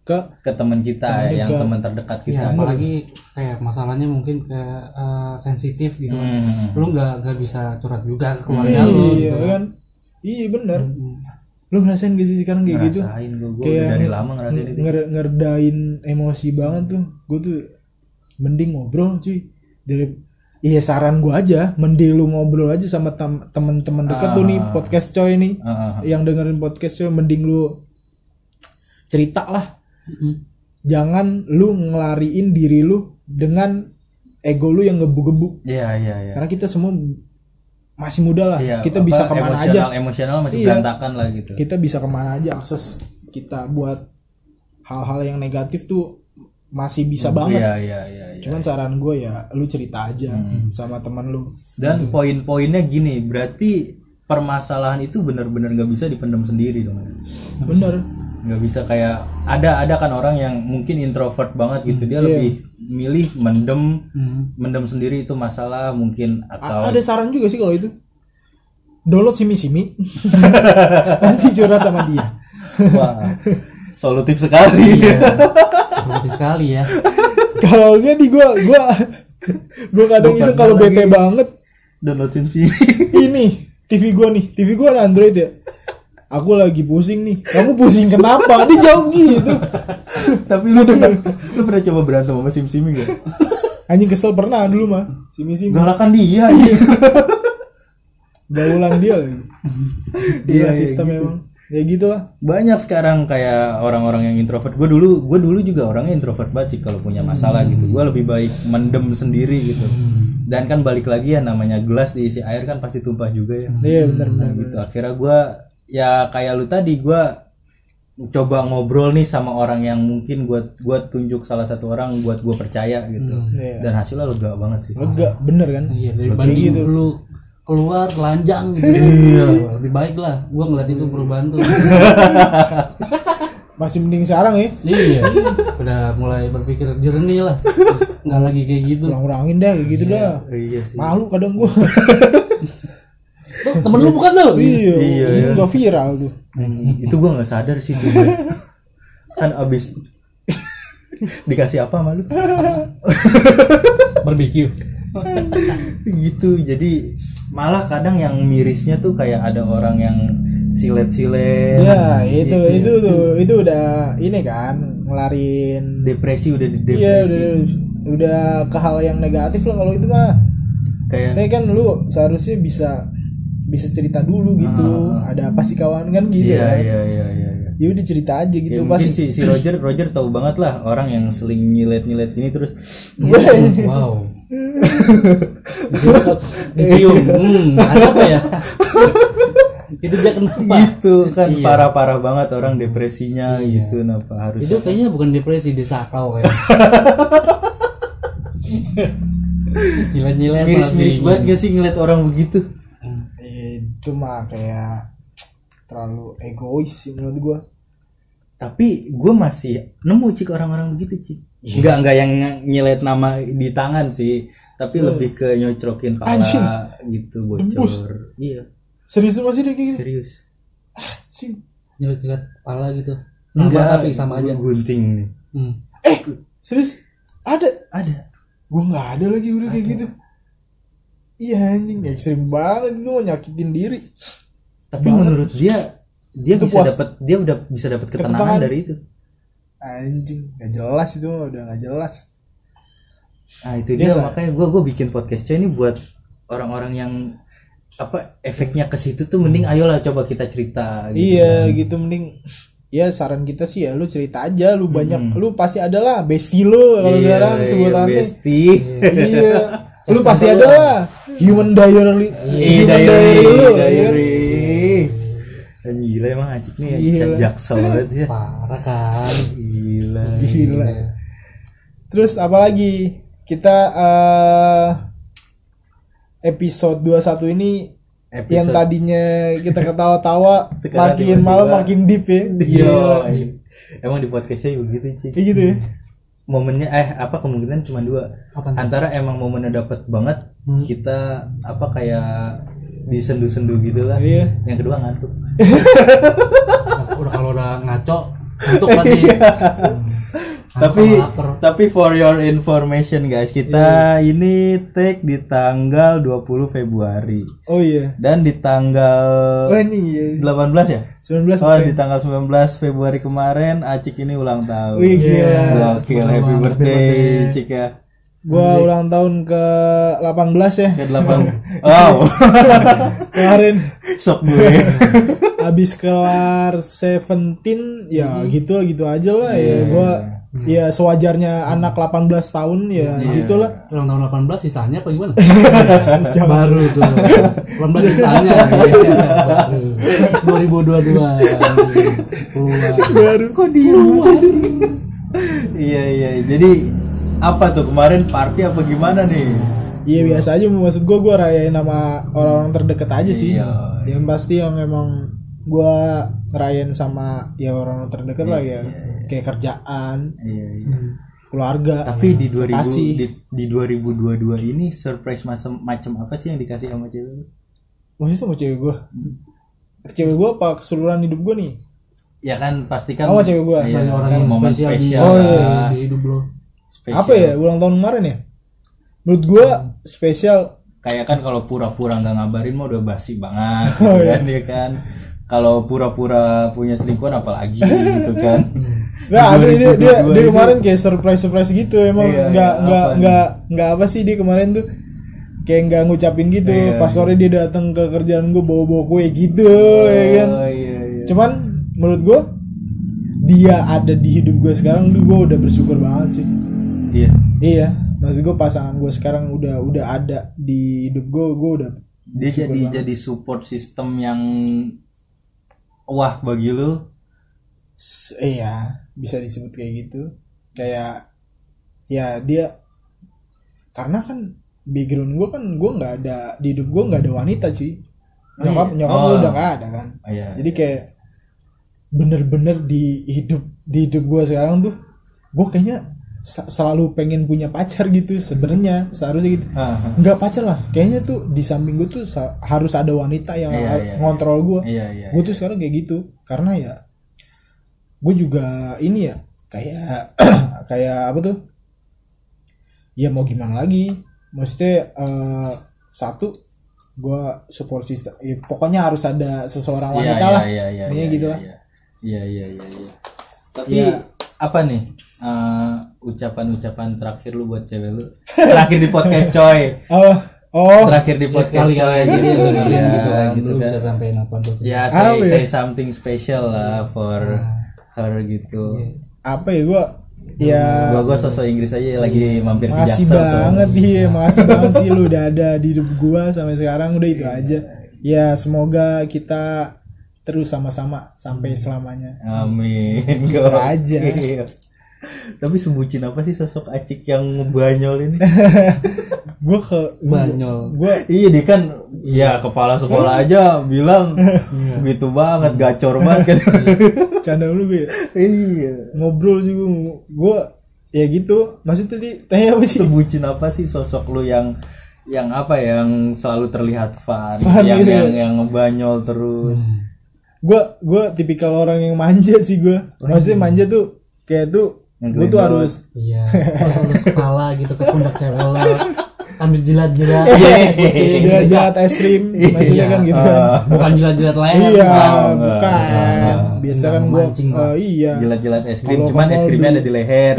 [SPEAKER 2] ke
[SPEAKER 3] ke teman kita yang
[SPEAKER 2] dekat.
[SPEAKER 3] teman terdekat
[SPEAKER 4] Iya,
[SPEAKER 3] kita.
[SPEAKER 4] apalagi kayak masalahnya mungkin ke eh, sensitif gitu kan.
[SPEAKER 3] Hmm.
[SPEAKER 4] Lu nggak nggak bisa curhat juga ke keluarga
[SPEAKER 2] iya,
[SPEAKER 4] lu gitu kan.
[SPEAKER 2] kan. Iya bener.
[SPEAKER 3] Hmm,
[SPEAKER 2] Lu ngerasain gak sih sekarang kayak gitu?
[SPEAKER 3] Rasain gue, gue
[SPEAKER 2] Kayak Hmm.
[SPEAKER 3] udah dari lama ngerasain itu.
[SPEAKER 2] Nger- ngerdain emosi banget tuh gue tuh mending ngobrol cuy dari iya saran gue aja mending lu ngobrol aja sama tam- temen-temen deket lu nih podcast coy nih
[SPEAKER 3] Ah.
[SPEAKER 2] yang dengerin podcast coy mending lu cerita lah
[SPEAKER 4] Mm-mm.
[SPEAKER 2] jangan lu ngelariin diri lu dengan ego lu yang ngebu-gebu
[SPEAKER 3] Iya iya iya.
[SPEAKER 2] karena kita semua masih muda lah
[SPEAKER 3] Iya,
[SPEAKER 2] kita
[SPEAKER 3] apa,
[SPEAKER 2] bisa kemana aja
[SPEAKER 3] emosional, Emosional masih
[SPEAKER 2] Iya.
[SPEAKER 3] berantakan lah gitu.
[SPEAKER 2] kita bisa kemana aja akses kita buat hal-hal yang negatif tuh masih bisa banget
[SPEAKER 3] Iya iya iya. iya.
[SPEAKER 2] cuman saran gue ya lu cerita aja sama teman lu
[SPEAKER 3] Dan poin-poinnya gini, berarti permasalahan itu benar-benar nggak bisa dipendam sendiri dong.
[SPEAKER 2] bener
[SPEAKER 3] Nggak bisa kayak ada ada kan orang yang mungkin introvert banget gitu dia lebih milih mendem mendem sendiri itu masalah mungkin
[SPEAKER 2] A-
[SPEAKER 3] atau
[SPEAKER 2] ada saran juga sih kalau itu download simi simi nanti curhat sama dia
[SPEAKER 3] Wah, solutif sekali
[SPEAKER 4] Iya. Solutif sekali ya.
[SPEAKER 2] kalau enggak di gua gua gua kadang
[SPEAKER 3] Bukan
[SPEAKER 2] iseng kalau
[SPEAKER 3] lagi.
[SPEAKER 2] bete banget
[SPEAKER 3] downloadin sini
[SPEAKER 2] ini TV gua nih TV gua ada Android ya aku lagi pusing nih kamu pusing kenapa dia jawab gitu
[SPEAKER 3] tapi lu pernah lu pernah coba berantem sama sim simi gak
[SPEAKER 2] anjing kesel pernah dulu mah simi simi
[SPEAKER 3] galakan dia iya. anjing.
[SPEAKER 2] baulan dia lagi
[SPEAKER 3] Iya,
[SPEAKER 2] dia
[SPEAKER 3] iya,
[SPEAKER 2] sistem
[SPEAKER 3] gitu.
[SPEAKER 2] emang ya gitu lah
[SPEAKER 3] banyak sekarang kayak orang-orang yang introvert gue dulu gue dulu juga orangnya introvert banget sih kalau punya masalah
[SPEAKER 2] Hmm.
[SPEAKER 3] gitu gue lebih baik mendem sendiri gitu dan kan balik lagi ya namanya gelas diisi air kan pasti tumpah juga ya
[SPEAKER 2] iya benar
[SPEAKER 3] Nah,
[SPEAKER 2] benar
[SPEAKER 3] gitu akhirnya gue ya kayak lu tadi gue coba ngobrol nih sama orang yang mungkin gue gua tunjuk salah satu orang buat gue percaya gitu
[SPEAKER 2] Iya.
[SPEAKER 3] dan hasilnya lega banget sih
[SPEAKER 2] lega bener kan
[SPEAKER 4] Iya, daripada gitu. lu keluar telanjang gitu. Lebih baik lah. Gua ngeliat itu perubahan tuh.
[SPEAKER 2] masih mending sekarang ya
[SPEAKER 4] iya. Udah mulai berpikir jernih lah. Nggak lagi kayak gitu.
[SPEAKER 2] kurang-kurangin dah kayak gitu dah
[SPEAKER 3] iya sih
[SPEAKER 2] malu kadang gua
[SPEAKER 4] Tuh, temen lu bukan lu.
[SPEAKER 2] iya gua viral tuh Hmm.
[SPEAKER 3] itu gue nggak sadar sih dulu. kan abis dikasih apa malu
[SPEAKER 4] Barbecue.
[SPEAKER 3] gitu jadi malah kadang yang mirisnya tuh kayak ada orang yang silet-silet gitu
[SPEAKER 2] ya
[SPEAKER 3] iya,
[SPEAKER 2] itu itu tuh itu udah ini kan ngelarin
[SPEAKER 3] depresi udah di
[SPEAKER 2] Iya
[SPEAKER 3] depresi
[SPEAKER 2] udah, udah ke hal yang negatif lah kalau itu mah.
[SPEAKER 3] kayak
[SPEAKER 2] Maksudnya kan lu seharusnya bisa bisa cerita dulu gitu. Ada apa sih kawan kan gitu
[SPEAKER 3] Ah, iya
[SPEAKER 2] kan.
[SPEAKER 3] iya iya iya iya.
[SPEAKER 2] Ya udah cerita aja
[SPEAKER 3] Ya,
[SPEAKER 2] gitu
[SPEAKER 3] mungkin
[SPEAKER 2] pasti.
[SPEAKER 3] si, si Roger Roger tahu banget lah orang yang seling nyilet-nyilet gini terus Iya.
[SPEAKER 4] Wow. Dicium. Dicium. Hmm, ada apa ya? itu dia kenapa? Iya.
[SPEAKER 3] gitu kan
[SPEAKER 2] iya."
[SPEAKER 3] parah-parah banget orang depresinya gitu kenapa harus
[SPEAKER 4] Itu kayaknya bukan depresi di sakau kayak. Nyilet-nyilet
[SPEAKER 3] miris-miris
[SPEAKER 4] masih. Hmm.
[SPEAKER 3] banget gitu. gak sih ngeliat orang begitu
[SPEAKER 2] Itu mah kayak terlalu egois sih menurut gua.
[SPEAKER 3] tapi gue masih nemu cik orang-orang begitu cik
[SPEAKER 2] Iya.
[SPEAKER 3] nggak nggak yang nyilet nama di tangan sih tapi lebih ke nyocrokin kepala
[SPEAKER 2] Iya. Anjing.
[SPEAKER 3] gitu bocor iya
[SPEAKER 2] Serius lu masih dia kayak gitu?
[SPEAKER 3] serius
[SPEAKER 2] Sih.
[SPEAKER 4] Nyilet-nyilet kepala gitu. Enggak, tapi sama aja.
[SPEAKER 3] gua gunting nih
[SPEAKER 4] Hmm.
[SPEAKER 2] Eh, serius ada
[SPEAKER 3] ada
[SPEAKER 2] gua nggak ada lagi udah kayak gitu. Iya anjing ekstrim banget itu mau nyakitin diri.
[SPEAKER 3] tapi menurut dia dia
[SPEAKER 2] Itu
[SPEAKER 3] bisa
[SPEAKER 2] puas.
[SPEAKER 3] dapat dia udah bisa dapat ketenangan
[SPEAKER 2] Ketenangan.
[SPEAKER 3] dari itu
[SPEAKER 2] Anjing, nggak jelas itu mah udah nggak jelas.
[SPEAKER 3] nah itu dia
[SPEAKER 2] Biasa.
[SPEAKER 3] makanya gue gue bikin podcast ini buat orang-orang yang apa efeknya ke situ tuh mending ayolah coba kita cerita gitu.
[SPEAKER 2] Hmm. Iya gitu mending ya saran kita sih ya lu cerita aja lu
[SPEAKER 3] Hmm.
[SPEAKER 2] banyak lu pasti ada lah besti lu kalau
[SPEAKER 3] Iya,
[SPEAKER 2] sekarang sebutannya
[SPEAKER 3] besti
[SPEAKER 2] iya lu pasti ada lah human diary
[SPEAKER 3] Iya,
[SPEAKER 2] human
[SPEAKER 3] diary,
[SPEAKER 2] lu, ya
[SPEAKER 3] diary. Dan gila emang Acik nih bisa
[SPEAKER 2] Gila.
[SPEAKER 3] jaksel banget ya.
[SPEAKER 4] Parah kan.
[SPEAKER 3] Gila.
[SPEAKER 2] kan? Gila. terus apalagi kita eh episode 21 ini
[SPEAKER 3] Episode.
[SPEAKER 2] yang tadinya kita ketawa-tawa
[SPEAKER 3] Sekarang
[SPEAKER 2] makin
[SPEAKER 3] tiba-tiba. Iya.
[SPEAKER 2] malam makin deep ya
[SPEAKER 3] Yo. Emang di podcastnya begitu
[SPEAKER 2] Kayak
[SPEAKER 3] Cik.
[SPEAKER 2] gitu ya
[SPEAKER 3] Momennya eh apa kemungkinan cuma dua.
[SPEAKER 4] Apa tuh?
[SPEAKER 3] Antara emang momennya dapat banget kita apa kayak disendu-sendu gitu lah.
[SPEAKER 2] Iya.
[SPEAKER 3] Yang kedua ngantuk.
[SPEAKER 4] udah kalau udah ngaco untuk lagi.
[SPEAKER 3] tapi tapi for your information guys, kita ini take di tanggal 20 Februari
[SPEAKER 2] oh iya
[SPEAKER 3] dan di tanggal
[SPEAKER 2] oh ini iya
[SPEAKER 3] 18 ya?
[SPEAKER 2] 19
[SPEAKER 3] Oh, di tanggal 19 Februari kemarin Acik ini ulang tahun.
[SPEAKER 2] Wih, gila.
[SPEAKER 3] Gokil, happy birthday Cik ya.
[SPEAKER 2] Gua ulang tahun ke 18 ya
[SPEAKER 3] Ke 8. Wow.
[SPEAKER 2] kemarin
[SPEAKER 3] Sok gue.
[SPEAKER 2] habis kelar 17 ya
[SPEAKER 3] Hmm.
[SPEAKER 2] gitu gitu aja lah
[SPEAKER 3] Iya.
[SPEAKER 2] ya gua ya sewajarnya anak 18 tahun ya
[SPEAKER 3] Iya.
[SPEAKER 2] gitulah
[SPEAKER 4] ulang tahun 18 sisanya apa gimana? Baru tuh. 18 sisanya. Iya. Baru. 2022. Keluar.
[SPEAKER 2] baru kok di
[SPEAKER 3] iya, iya. Jadi apa tuh kemarin party apa gimana nih?
[SPEAKER 2] Iya biasa aja maksud gua gua rayain nama orang-orang terdekat aja sih. Yang pasti yang emang gua rayain sama ya orang-orang terdekat lah ya. Kayak kerjaan,
[SPEAKER 3] Iya, iya.
[SPEAKER 2] keluarga.
[SPEAKER 3] Tapi di 2000
[SPEAKER 2] Hmm. Kasih.
[SPEAKER 3] di, di 2022 ini surprise macam macam apa sih yang dikasih sama cewek? lu?
[SPEAKER 2] Maksudnya sama cewek gua. Cewek gua apa keseluruhan hidup gua nih?
[SPEAKER 3] ya kan pastikan
[SPEAKER 2] Sama cewek gua.
[SPEAKER 3] Iya,
[SPEAKER 4] Banyak orang
[SPEAKER 3] kan
[SPEAKER 4] yang
[SPEAKER 3] momen
[SPEAKER 4] spesial di-
[SPEAKER 3] spesial,
[SPEAKER 2] Oh, iya.
[SPEAKER 3] lah.
[SPEAKER 4] di hidup lo
[SPEAKER 3] Spesial.
[SPEAKER 2] apa ya ulang tahun kemarin ya menurut gua spesial
[SPEAKER 3] kayak kan kalau pura-pura nggak ngabarin mah udah basi banget gitu
[SPEAKER 2] Oh, iya.
[SPEAKER 3] kan ya kan kalau pura-pura punya selingkuhan apalagi gitu kan
[SPEAKER 2] Nah,
[SPEAKER 3] Di
[SPEAKER 2] asli dia, dia,
[SPEAKER 3] 2022
[SPEAKER 2] dia
[SPEAKER 3] itu-
[SPEAKER 2] kemarin kayak surprise surprise gitu emang
[SPEAKER 3] Iya,
[SPEAKER 2] nggak
[SPEAKER 3] iya,
[SPEAKER 2] nggak
[SPEAKER 3] apa
[SPEAKER 2] nggak nggak apa sih dia kemarin tuh kayak nggak ngucapin gitu
[SPEAKER 3] Iya,
[SPEAKER 2] pas sore dia datang ke kerjaan gue bawa bawa kue gitu ya kan
[SPEAKER 3] Oh, iya, iya.
[SPEAKER 2] cuman menurut gue dia ada di hidup gue sekarang tuh gue udah bersyukur banget sih
[SPEAKER 3] Iya.
[SPEAKER 2] iya maksud gue pasangan gue sekarang udah udah ada di hidup gue gue udah
[SPEAKER 3] dia jadi jadi support system yang wah bagi lu
[SPEAKER 2] S- iya bisa disebut kayak gitu kayak ya dia karena kan background gue kan gue nggak ada di hidup gue nggak ada wanita sih nyokap nyokap
[SPEAKER 3] Oh.
[SPEAKER 2] gua udah nggak ada kan
[SPEAKER 3] Oh, iya.
[SPEAKER 2] jadi kayak bener-bener di hidup di hidup gue sekarang tuh gue kayaknya sa- selalu pengen punya pacar gitu sebenarnya seharusnya gitu
[SPEAKER 3] Ah, ah.
[SPEAKER 2] nggak pacar lah kayaknya tuh di samping gue tuh sa- harus ada wanita yang
[SPEAKER 3] Iya,
[SPEAKER 2] ha-
[SPEAKER 3] iya,
[SPEAKER 2] ngontrol gue
[SPEAKER 3] Iya, iya,
[SPEAKER 2] gue tuh sekarang kayak gitu karena ya gue juga ini ya kayak kayak apa tuh ya mau gimana lagi maksudnya eh, satu gue support system ya, pokoknya harus ada seseorang
[SPEAKER 3] Iya,
[SPEAKER 2] wanita
[SPEAKER 3] iya,
[SPEAKER 2] lah
[SPEAKER 3] iya, iya,
[SPEAKER 2] Intinya
[SPEAKER 3] iya,
[SPEAKER 2] gitu
[SPEAKER 3] iya,
[SPEAKER 2] lah
[SPEAKER 3] iya. Iya, iya, iya, iya. Tapi
[SPEAKER 2] Iya.
[SPEAKER 3] apa nih eh, ucapan-ucapan terakhir lu buat cewek lu? Terakhir di podcast coy.
[SPEAKER 2] oh oh
[SPEAKER 3] Terakhir di podcast
[SPEAKER 4] kali
[SPEAKER 3] coy
[SPEAKER 4] kali
[SPEAKER 3] gitu.
[SPEAKER 4] gitu
[SPEAKER 3] Ya,
[SPEAKER 4] kali gitu kan
[SPEAKER 3] gitu
[SPEAKER 4] lu
[SPEAKER 3] kan.
[SPEAKER 4] bisa sampein apa tuh
[SPEAKER 3] Ya,
[SPEAKER 2] Ah,
[SPEAKER 3] say,
[SPEAKER 2] iya.
[SPEAKER 3] say something special lah for her gitu.
[SPEAKER 2] apa ya gue ya
[SPEAKER 3] Gua gua sosok Inggris aja lagi mampir ke
[SPEAKER 2] Makasih
[SPEAKER 3] Jaksel soalnya.
[SPEAKER 2] banget iya, makasih banget sih lu udah ada di hidup gua sampai sekarang udah itu aja. Ya semoga kita terus sama-sama sampai selamanya.
[SPEAKER 3] Amin.
[SPEAKER 2] Gitu aja.
[SPEAKER 3] Gokil. Tapi sebutin apa sih sosok Acik yang ngebanyol ini?
[SPEAKER 2] Gua ke
[SPEAKER 4] banyol
[SPEAKER 2] gua
[SPEAKER 3] iya dia kan ya kepala sekolah aja bilang gitu banget gacor banget kan.
[SPEAKER 2] canda lu Bi.
[SPEAKER 3] iya.
[SPEAKER 2] ngobrol sih gua. Gua ya gitu. Maksud tadi tanya apa sih?
[SPEAKER 3] Sebutin apa sih sosok lu yang yang apa yang selalu terlihat fun,
[SPEAKER 2] Fun
[SPEAKER 3] yang,
[SPEAKER 2] gitu ya?
[SPEAKER 3] yang yang ngebanyol terus.
[SPEAKER 2] Gua gua tipikal orang yang manja sih gua. Maksudnya manja tuh kayak tuh
[SPEAKER 3] Yang
[SPEAKER 2] gua tuh
[SPEAKER 3] gelindot.
[SPEAKER 2] harus
[SPEAKER 4] iya pas lu kepala gitu ke pundak cewek lo ambil jilat-jilat
[SPEAKER 2] Iya.
[SPEAKER 4] kucing,
[SPEAKER 2] dia
[SPEAKER 4] gitu.
[SPEAKER 2] jahat es krim maksudnya kan gitu kan.
[SPEAKER 4] bukan jilat-jilat leher
[SPEAKER 2] Iya,
[SPEAKER 3] enggak,
[SPEAKER 2] bukan. Biasa kan gua
[SPEAKER 4] Memancing lah.
[SPEAKER 2] eh, iya.
[SPEAKER 3] Jilat-jilat es krim,
[SPEAKER 2] Kalau Eh,
[SPEAKER 3] cuman
[SPEAKER 2] kamu
[SPEAKER 3] es krimnya
[SPEAKER 2] beli-
[SPEAKER 3] ada di leher.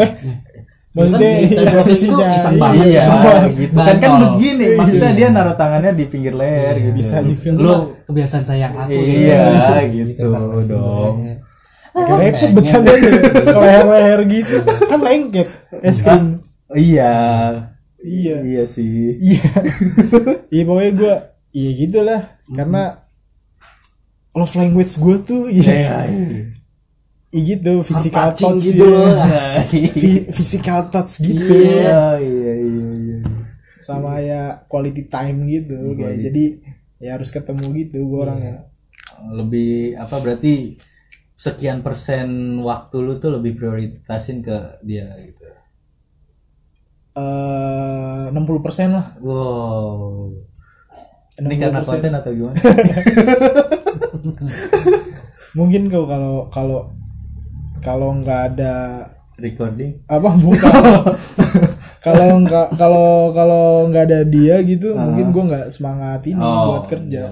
[SPEAKER 2] Maksudnya
[SPEAKER 4] Kan kita
[SPEAKER 2] iya,
[SPEAKER 4] profesi tuh
[SPEAKER 2] iya,
[SPEAKER 4] iseng
[SPEAKER 2] iya,
[SPEAKER 4] banget.
[SPEAKER 2] iya.
[SPEAKER 3] Iya,
[SPEAKER 4] Semua.
[SPEAKER 3] gitu kan kan
[SPEAKER 4] Bantol.
[SPEAKER 3] begini. Maksudnya dia naruh tangannya di pinggir leher gitu.
[SPEAKER 2] Iya, Bisa juga.
[SPEAKER 4] lu kebiasaan sayang aku kan.
[SPEAKER 3] Iya, gitu dong.
[SPEAKER 2] Agak repot bercandanya ke leher-leher gitu. Iya. Kan lengket es krim.
[SPEAKER 3] Iya.
[SPEAKER 2] Iya.
[SPEAKER 3] Iya sih.
[SPEAKER 2] Iya. Iya pokoknya gua iya gitulah karena love language gua tuh iya
[SPEAKER 3] Iya.
[SPEAKER 2] iya gitu physical touch
[SPEAKER 4] Touching gitu
[SPEAKER 2] iya.
[SPEAKER 4] loh.
[SPEAKER 2] Fi- physical touch gitu
[SPEAKER 3] Iya, iya, iya, iya.
[SPEAKER 2] sama ya quality time gitu kayak jadi ya harus ketemu gitu gua orangnya.
[SPEAKER 3] Lebih apa berarti sekian persen waktu lu tuh lebih prioritasin ke dia gitu.
[SPEAKER 2] Eh, 60% lah
[SPEAKER 3] Wow. Ini karena
[SPEAKER 2] 60%.
[SPEAKER 3] konten atau gimana?
[SPEAKER 2] mungkin kau kalau kalau kalau nggak ada
[SPEAKER 3] Recording.
[SPEAKER 2] apa bukan kalau nggak kalau kalau nggak ada dia gitu mungkin gue nggak semangat ini buat kerja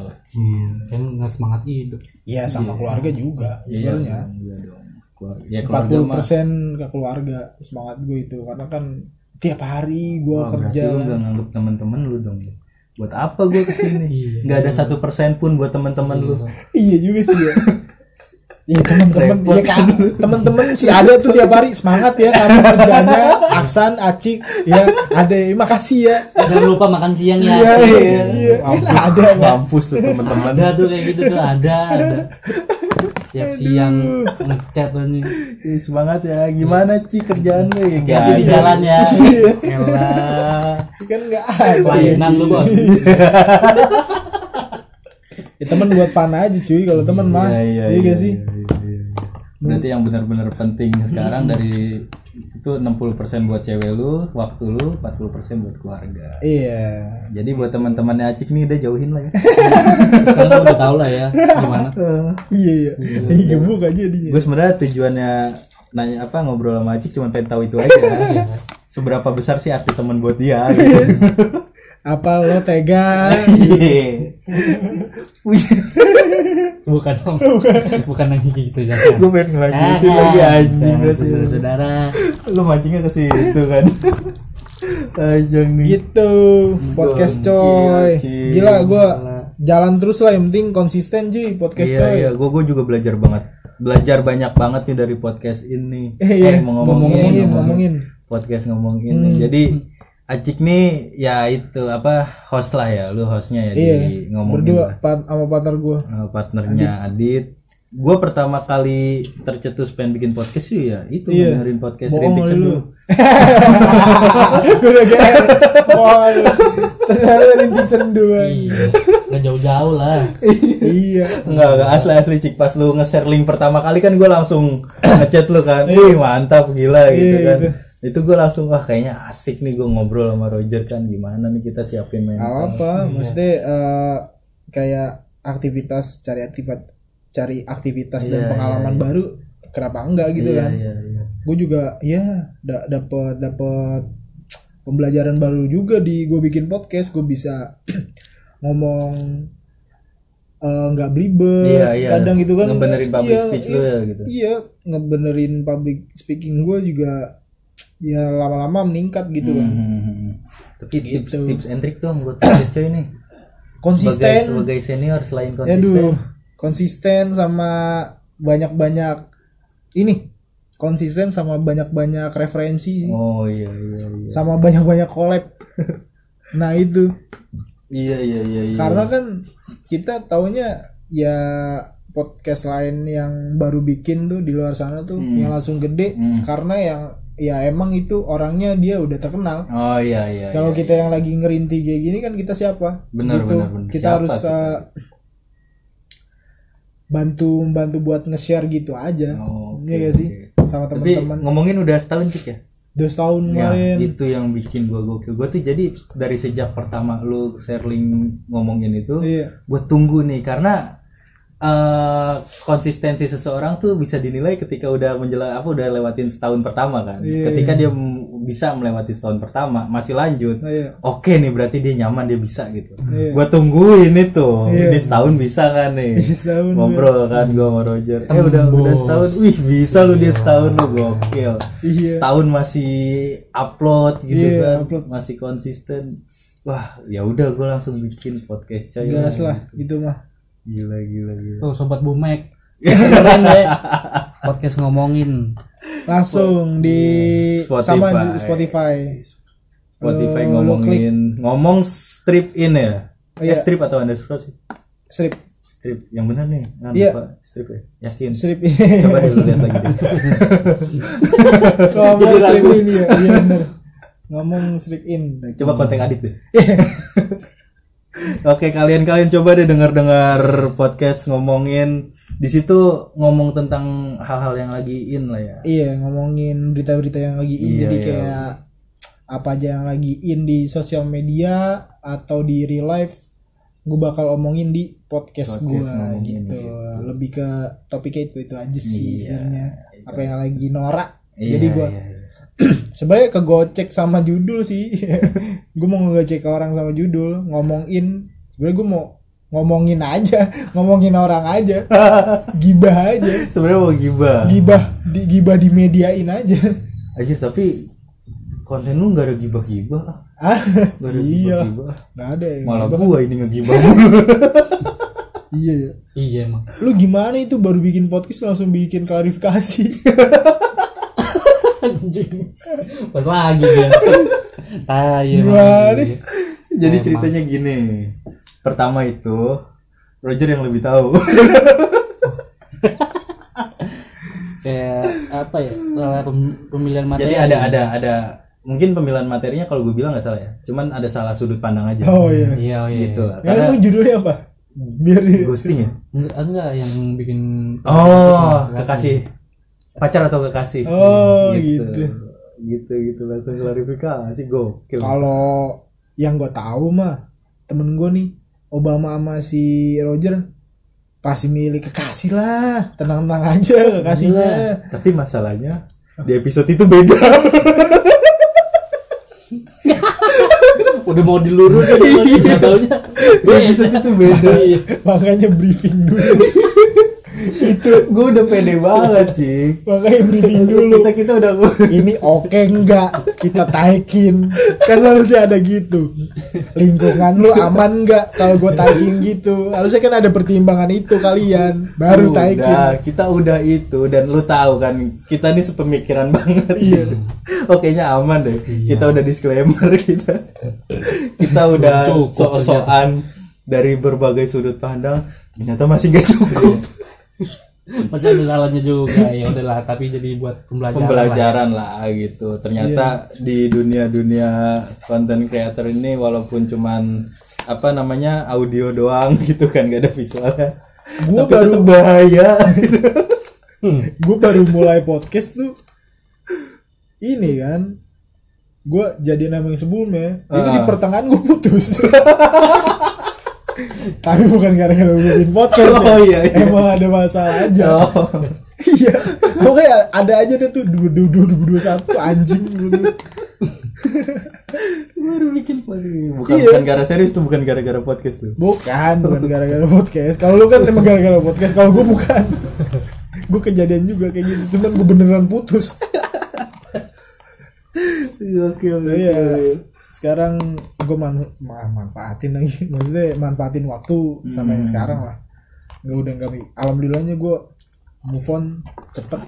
[SPEAKER 4] kan nggak semangat hidup
[SPEAKER 2] ya sama keluarga juga sebenarnya
[SPEAKER 3] Iya dong. Keluar- Ya
[SPEAKER 2] empat
[SPEAKER 3] keluarga mah.
[SPEAKER 2] ke keluarga semangat gue itu karena kan tiap hari gue
[SPEAKER 3] Oh, berarti
[SPEAKER 2] kerja
[SPEAKER 3] lu gak nganggep teman-teman lu dong. ya? Buat apa gue kesini? gak ada satu persen pun buat teman-teman lu.
[SPEAKER 2] iya juga sih ya Iya temen-temen, ya, Kak. temen-temen sih ada tuh tiap hari semangat ya kamu kerjanya Aksan, Acik, ya ada ya. makasih ya.
[SPEAKER 4] jangan lupa makan siang ya
[SPEAKER 2] Iya,
[SPEAKER 4] Cik.
[SPEAKER 2] iya, iya. Kan ada Pak.
[SPEAKER 3] Mampus tuh teman-teman.
[SPEAKER 4] ada tuh kayak gitu tuh ada ada tiap siang ngechat nih
[SPEAKER 3] Ih, semangat ya. Gimana Ci kerjaan lu ya?
[SPEAKER 4] hati di jalan ya
[SPEAKER 3] Elah.
[SPEAKER 2] kan nggak ada.
[SPEAKER 4] layanan lu bos
[SPEAKER 2] Ya, temen buat fun aja cuy kalau temen mah.
[SPEAKER 3] Iya, iya,
[SPEAKER 2] Iya gak sih?
[SPEAKER 3] Berarti yang benar-benar penting sekarang dari itu 60% buat cewek lu waktu lu 40% buat keluarga
[SPEAKER 2] iya
[SPEAKER 3] jadi buat teman-temannya acik nih udah jauhin lah ya
[SPEAKER 4] Saya udah tau lah ya gimana.
[SPEAKER 2] iya iya ini gebuk aja jadinya
[SPEAKER 3] gue sebenarnya tujuannya nanya apa ngobrol sama acik cuma pengen tahu itu aja seberapa besar sih arti teman buat dia gitu.
[SPEAKER 2] apa lo tega
[SPEAKER 4] Bukan om. Bukan yang kayak gitu ya.
[SPEAKER 3] gue pengen ngelanjutin lagi anjing
[SPEAKER 4] Saudara.
[SPEAKER 3] lu mancingnya ke situ kan ajang nih
[SPEAKER 2] gitu podcast coy
[SPEAKER 3] Cil.
[SPEAKER 2] gila gua jalan terus lah yang penting konsisten ji podcast ya?
[SPEAKER 3] iya
[SPEAKER 2] coy
[SPEAKER 3] iya gue gue juga belajar banget belajar banyak banget nih dari podcast ini
[SPEAKER 2] Eh, iya.
[SPEAKER 3] mau
[SPEAKER 2] Ngomongin,
[SPEAKER 3] ngomongin,
[SPEAKER 2] ngomongin. Hmm.
[SPEAKER 3] podcast ngomongin jadi Acik nih ya itu apa host lah ya lu hostnya ya
[SPEAKER 2] Iya,
[SPEAKER 3] di ngomongin
[SPEAKER 2] berdua pat- sama partner gua
[SPEAKER 3] Eh, partnernya Adit. Gue pertama kali tercetus pengen bikin podcast sih ya itu dengerin podcast
[SPEAKER 2] Iya. Bohong
[SPEAKER 3] Rintik
[SPEAKER 2] lu.
[SPEAKER 3] Seduh.
[SPEAKER 2] Gua udah gr Wah, ternyata rintik sendu anjing.
[SPEAKER 4] Iya. Gak jauh-jauh lah.
[SPEAKER 2] iya
[SPEAKER 3] Enggak, enggak asli asli cik pas lu nge-share link pertama kali kan gue langsung ngechat lu kan. Wih, mantap gila gitu
[SPEAKER 2] Iya,
[SPEAKER 3] kan.
[SPEAKER 2] gitu.
[SPEAKER 3] Itu gue langsung wah kayaknya asik nih gue ngobrol sama Roger kan gimana nih kita siapin main.
[SPEAKER 2] Gak apa
[SPEAKER 3] Iya.
[SPEAKER 2] maksudnya eh, kayak aktivitas cari aktivitas cari aktivitas dan pengalaman baru kenapa enggak gitu kan
[SPEAKER 3] Iya, iya.
[SPEAKER 2] gue juga ya da dapet dapet pembelajaran baru juga di gue bikin podcast gue bisa ngomong eh, nggak belibet
[SPEAKER 3] Iya, iya.
[SPEAKER 2] kadang gitu kan
[SPEAKER 3] Ngebenerin public speech lu ya gitu.
[SPEAKER 2] iya ngebenerin public speaking gue juga ya lama-lama meningkat gitu kan
[SPEAKER 3] Hmm. Tapi tips, tips and trick dong buat podcast coy nih. Sebagai,
[SPEAKER 2] Gitu. konsisten
[SPEAKER 3] sebagai senior selain konsisten.
[SPEAKER 2] Aduh, konsisten sama banyak-banyak ini konsisten sama banyak-banyak referensi
[SPEAKER 3] Oh iya iya iya.
[SPEAKER 2] sama banyak-banyak collab. nah itu
[SPEAKER 3] Iya iya iya. iya.
[SPEAKER 2] karena kan kita taunya ya podcast lain yang baru bikin tuh di luar sana tuh
[SPEAKER 3] Hmm.
[SPEAKER 2] yang langsung gede karena yang ya emang itu orangnya dia udah terkenal.
[SPEAKER 3] Oh iya iya.
[SPEAKER 2] Kalau kita yang lagi ngerinti kayak gini kan kita siapa?
[SPEAKER 3] Benar,
[SPEAKER 2] Gitu.
[SPEAKER 3] benar, benar.
[SPEAKER 2] Kita
[SPEAKER 3] Siapa
[SPEAKER 2] harus
[SPEAKER 3] kita?
[SPEAKER 2] eh, bantu bantu buat nge-share gitu aja.
[SPEAKER 3] Oh, oke,
[SPEAKER 2] Iya gak sih?
[SPEAKER 3] oke.
[SPEAKER 2] Sama
[SPEAKER 3] Tapi
[SPEAKER 2] teman-teman.
[SPEAKER 3] ngomongin udah setahun Cik, ya?
[SPEAKER 2] Dua tahun
[SPEAKER 3] Ya,
[SPEAKER 2] kemarin.
[SPEAKER 3] itu yang bikin gua gokil. Gua tuh jadi dari sejak pertama lu sharing ngomongin itu,
[SPEAKER 2] Iya.
[SPEAKER 3] gua tunggu nih karena eh konsistensi seseorang tuh bisa dinilai ketika udah menjelang apa udah lewatin setahun pertama kan.
[SPEAKER 2] Iya,
[SPEAKER 3] ketika dia m- bisa melewati setahun pertama masih lanjut.
[SPEAKER 2] Iya.
[SPEAKER 3] Oke nih berarti dia nyaman dia bisa gitu. Gua tungguin itu. Ini setahun bisa kan nih.
[SPEAKER 2] Iya. setahun, iya.
[SPEAKER 3] Ngobrol kan gua sama Roger. Eh udah udah setahun. Wih, bisa lu
[SPEAKER 2] Iya.
[SPEAKER 3] dia setahun lu gokil. Setahun masih upload gitu
[SPEAKER 2] Iya,
[SPEAKER 3] kan. Masih konsisten. Wah, ya udah gua langsung bikin podcast coy.
[SPEAKER 2] Gas lah itu mah.
[SPEAKER 3] Gila gila gila.
[SPEAKER 4] Tuh sobat bumek. Dengerin deh. Podcast ngomongin.
[SPEAKER 2] Langsung di
[SPEAKER 3] Iya, Spotify.
[SPEAKER 2] sama di Spotify.
[SPEAKER 3] Spotify
[SPEAKER 2] Lu- lu klik.
[SPEAKER 3] ngomongin ngomong strip in ya.
[SPEAKER 2] Oh,
[SPEAKER 3] Eh,
[SPEAKER 2] iya.
[SPEAKER 3] strip atau underscore sih?
[SPEAKER 2] Strip.
[SPEAKER 3] Strip yang benar nih. Nah,
[SPEAKER 2] Iya.
[SPEAKER 3] lupa. Strip ya. Yakin.
[SPEAKER 2] Strip.
[SPEAKER 3] Coba deh lu lihat lagi deh.
[SPEAKER 2] Ngomong strip in ya. Iya bener. Ngomong strip in.
[SPEAKER 3] Coba konten Adit deh. Oke, kalian-kalian coba deh dengar-dengar podcast ngomongin di situ ngomong tentang hal-hal yang lagi in lah ya.
[SPEAKER 2] Iya ngomongin berita-berita yang lagi in
[SPEAKER 3] Iya,
[SPEAKER 2] jadi
[SPEAKER 3] iya.
[SPEAKER 2] kayak apa aja yang lagi in di sosial media atau di real life gue bakal omongin di podcast,
[SPEAKER 3] Podcast
[SPEAKER 2] gua
[SPEAKER 3] ngomongin
[SPEAKER 2] gitu.
[SPEAKER 3] gitu.
[SPEAKER 2] lebih ke topiknya itu itu aja sih
[SPEAKER 3] Iya,
[SPEAKER 2] sebenarnya
[SPEAKER 3] iya.
[SPEAKER 2] apa yang lagi norak
[SPEAKER 3] Iya,
[SPEAKER 2] jadi gua
[SPEAKER 3] iya, iya.
[SPEAKER 2] sebenarnya kegocek sama judul sih gue mau ngegocek ke orang sama judul ngomongin sebenarnya gue mau ngomongin aja ngomongin orang aja gibah aja
[SPEAKER 3] sebenarnya mau gibah.
[SPEAKER 2] gibah di, gibah di mediain aja
[SPEAKER 3] Anjir, tapi konten lu nggak ada gibah-gibah. ah.
[SPEAKER 2] Ah,
[SPEAKER 3] Nggak ada
[SPEAKER 2] iya.
[SPEAKER 3] gibah-gibah.
[SPEAKER 2] Gak ada ya.
[SPEAKER 3] Malah gua ini ngegibah mulu.
[SPEAKER 2] Iya ya.
[SPEAKER 4] Iya emang.
[SPEAKER 2] Lu gimana itu baru bikin podcast langsung bikin klarifikasi?
[SPEAKER 4] Anjing. Pas lagi dia. Tai
[SPEAKER 2] Gimana?
[SPEAKER 4] emang.
[SPEAKER 3] Jadi ceritanya gini. Pertama itu Roger yang lebih tahu.
[SPEAKER 4] Kayak apa ya? Soal pem- pemilihan
[SPEAKER 3] Jadi
[SPEAKER 4] materi.
[SPEAKER 3] ada ada ada mungkin pemilihan materinya kalau gue bilang nggak salah ya. Cuman ada salah sudut pandang aja.
[SPEAKER 2] Oh iya.
[SPEAKER 4] Iya, iya.
[SPEAKER 3] Gitu lah.
[SPEAKER 2] Ya
[SPEAKER 3] Karena
[SPEAKER 2] lu judulnya apa? Biar dia-
[SPEAKER 3] ghosting ya.
[SPEAKER 4] Enggak, enggak yang bikin
[SPEAKER 3] Oh, kekasih. Pacar atau kekasih.
[SPEAKER 2] Oh gitu.
[SPEAKER 3] Gitu. gitu gitu langsung klarifikasi gokil
[SPEAKER 2] Kalau yang gue tahu mah temen gue nih Obama sama si Roger pasti milih kekasih lah tenang-tenang aja kekasihnya
[SPEAKER 3] tapi masalahnya di episode itu beda
[SPEAKER 4] udah mau dilurusin nggak taunya
[SPEAKER 3] di episode itu beda
[SPEAKER 4] Iya.
[SPEAKER 2] makanya briefing dulu
[SPEAKER 3] itu gue udah pede banget cik
[SPEAKER 2] makanya
[SPEAKER 3] Iya,
[SPEAKER 2] briefing dulu
[SPEAKER 3] kita kita udah
[SPEAKER 2] ini oke enggak kita taikin kan lo harusnya ada gitu lingkungan lu aman enggak kalau gue taikin gitu harusnya kan ada pertimbangan itu kalian baru taikin
[SPEAKER 3] udah, kita udah itu dan lu tahu kan kita nih sepemikiran banget iya oke nya aman deh kita udah disclaimer kita kita udah
[SPEAKER 4] Belum cukup
[SPEAKER 3] sok-sokan dari berbagai sudut pandang ternyata masih gak cukup
[SPEAKER 4] masih ada salahnya juga ya udahlah tapi jadi buat pembelajaran, lah.
[SPEAKER 3] pembelajaran lah gitu ternyata di dunia dunia konten creator ini walaupun cuman apa namanya audio doang gitu kan gak ada visualnya
[SPEAKER 2] Gua
[SPEAKER 3] Tapi tetep bahaya gitu.
[SPEAKER 4] Hmm.
[SPEAKER 2] gue baru mulai podcast tuh ini kan gue jadi nama yang sebelumnya itu di
[SPEAKER 3] Ah.
[SPEAKER 2] pertengahan gue putus tapi bukan gara-gara gue bikin podcast ya.
[SPEAKER 3] Oh, iya, iya.
[SPEAKER 2] emang ada masalah aja
[SPEAKER 3] Oh.
[SPEAKER 2] iya gue kayak ada aja deh tuh dua dua dua dua satu anjing dulu
[SPEAKER 3] baru bikin podcast bukan
[SPEAKER 2] Iya.
[SPEAKER 3] bukan gara serius tuh bukan gara-gara podcast tuh
[SPEAKER 2] bukan bukan gara-gara podcast kalau lu kan emang gara-gara podcast kalau gue bukan gue kejadian juga kayak gitu cuman gue beneran putus
[SPEAKER 3] oke
[SPEAKER 2] Iya. Sekarang gue manfaatin lagi, maksudnya manfaatin waktu sama
[SPEAKER 3] Hmm.
[SPEAKER 2] yang sekarang lah. Gak udah nggak bi- Alhamdulillahnya gue move on cepet.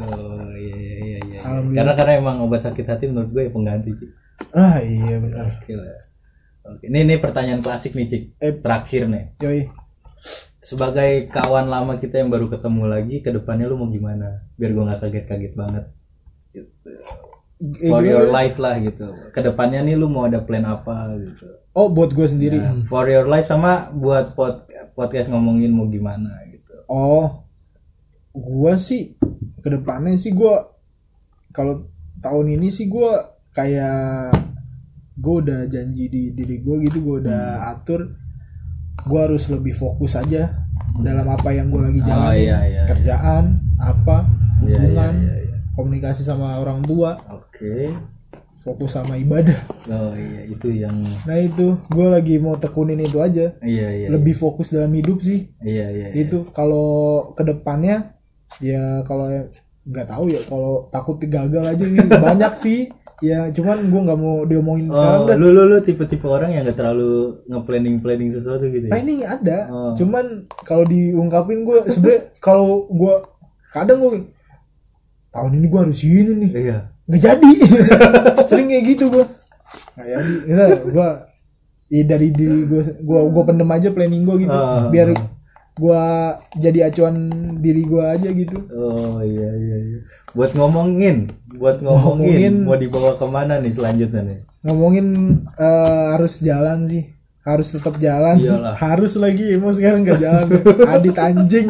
[SPEAKER 3] oh iya iya iya, iya
[SPEAKER 2] Alhamdulillah.
[SPEAKER 3] karena karena emang obat sakit hati menurut gue ya pengganti cik
[SPEAKER 2] Ah iya benar.
[SPEAKER 3] oke lah oke ini ini pertanyaan klasik nih cik
[SPEAKER 2] Eh.
[SPEAKER 3] terakhir nih
[SPEAKER 2] Yoi.
[SPEAKER 3] sebagai kawan lama kita yang baru ketemu lagi ke depannya lu mau gimana biar gue nggak kaget-kaget banget
[SPEAKER 2] Eh,
[SPEAKER 3] for
[SPEAKER 2] gimana?
[SPEAKER 3] your life lah gitu ke depannya nih lu mau ada plan apa gitu
[SPEAKER 2] Oh buat gue sendiri.
[SPEAKER 3] Nah, for your life sama buat pod- podcast ngomongin mau gimana gitu
[SPEAKER 2] Oh, gua sih kedepannya sih gua kalau tahun ini sih gua kayak gua udah janji di diri gua gitu, gua udah
[SPEAKER 3] Hmm.
[SPEAKER 2] atur, gua harus lebih fokus aja dalam apa yang gua lagi
[SPEAKER 3] oh
[SPEAKER 2] jalani,
[SPEAKER 3] Hmm. iya iya
[SPEAKER 2] kerjaan, apa,
[SPEAKER 3] Iya,
[SPEAKER 2] hubungan,
[SPEAKER 3] iya, iya,
[SPEAKER 2] komunikasi sama orang tua,
[SPEAKER 3] Oke.
[SPEAKER 2] fokus sama ibadah.
[SPEAKER 3] Oh iya itu yang
[SPEAKER 2] Nah itu, gua lagi mau tekunin itu aja,
[SPEAKER 3] iya iya.
[SPEAKER 2] lebih fokus dalam hidup sih.
[SPEAKER 3] Iya iya. iya.
[SPEAKER 2] itu Gitu. kalau kedepannya ya kalau yang- nggak tahu ya kalau takut gagal aja ini banyak sih ya cuman gue nggak mau diomongin sekarang
[SPEAKER 3] Oh,
[SPEAKER 2] dah.
[SPEAKER 3] lu lu lu tipe-tipe orang yang gak terlalu nge-planning-planning sesuatu gitu
[SPEAKER 2] nah
[SPEAKER 3] ya.
[SPEAKER 2] ini ada
[SPEAKER 3] Oh.
[SPEAKER 2] cuman kalau diungkapin gue sebenernya kalau gue kadang gue tahun ini gue harus ini nih
[SPEAKER 3] Iya.
[SPEAKER 2] nggak jadi sering kayak gitu gue nggak jadi ya, gue ya dari diri gue gue gue pendem aja planning gue gitu
[SPEAKER 3] Ah.
[SPEAKER 2] biar gue jadi acuan diri gue aja gitu
[SPEAKER 3] Oh iya iya iya. Buat ngomongin, buat ngomongin,
[SPEAKER 2] Ngomongin.
[SPEAKER 3] mau dibawa kemana nih selanjutnya nih?
[SPEAKER 2] ngomongin eh, harus jalan sih harus tetap jalan
[SPEAKER 3] Iyalah.
[SPEAKER 2] harus lagi emang sekarang nggak jalan adit anjing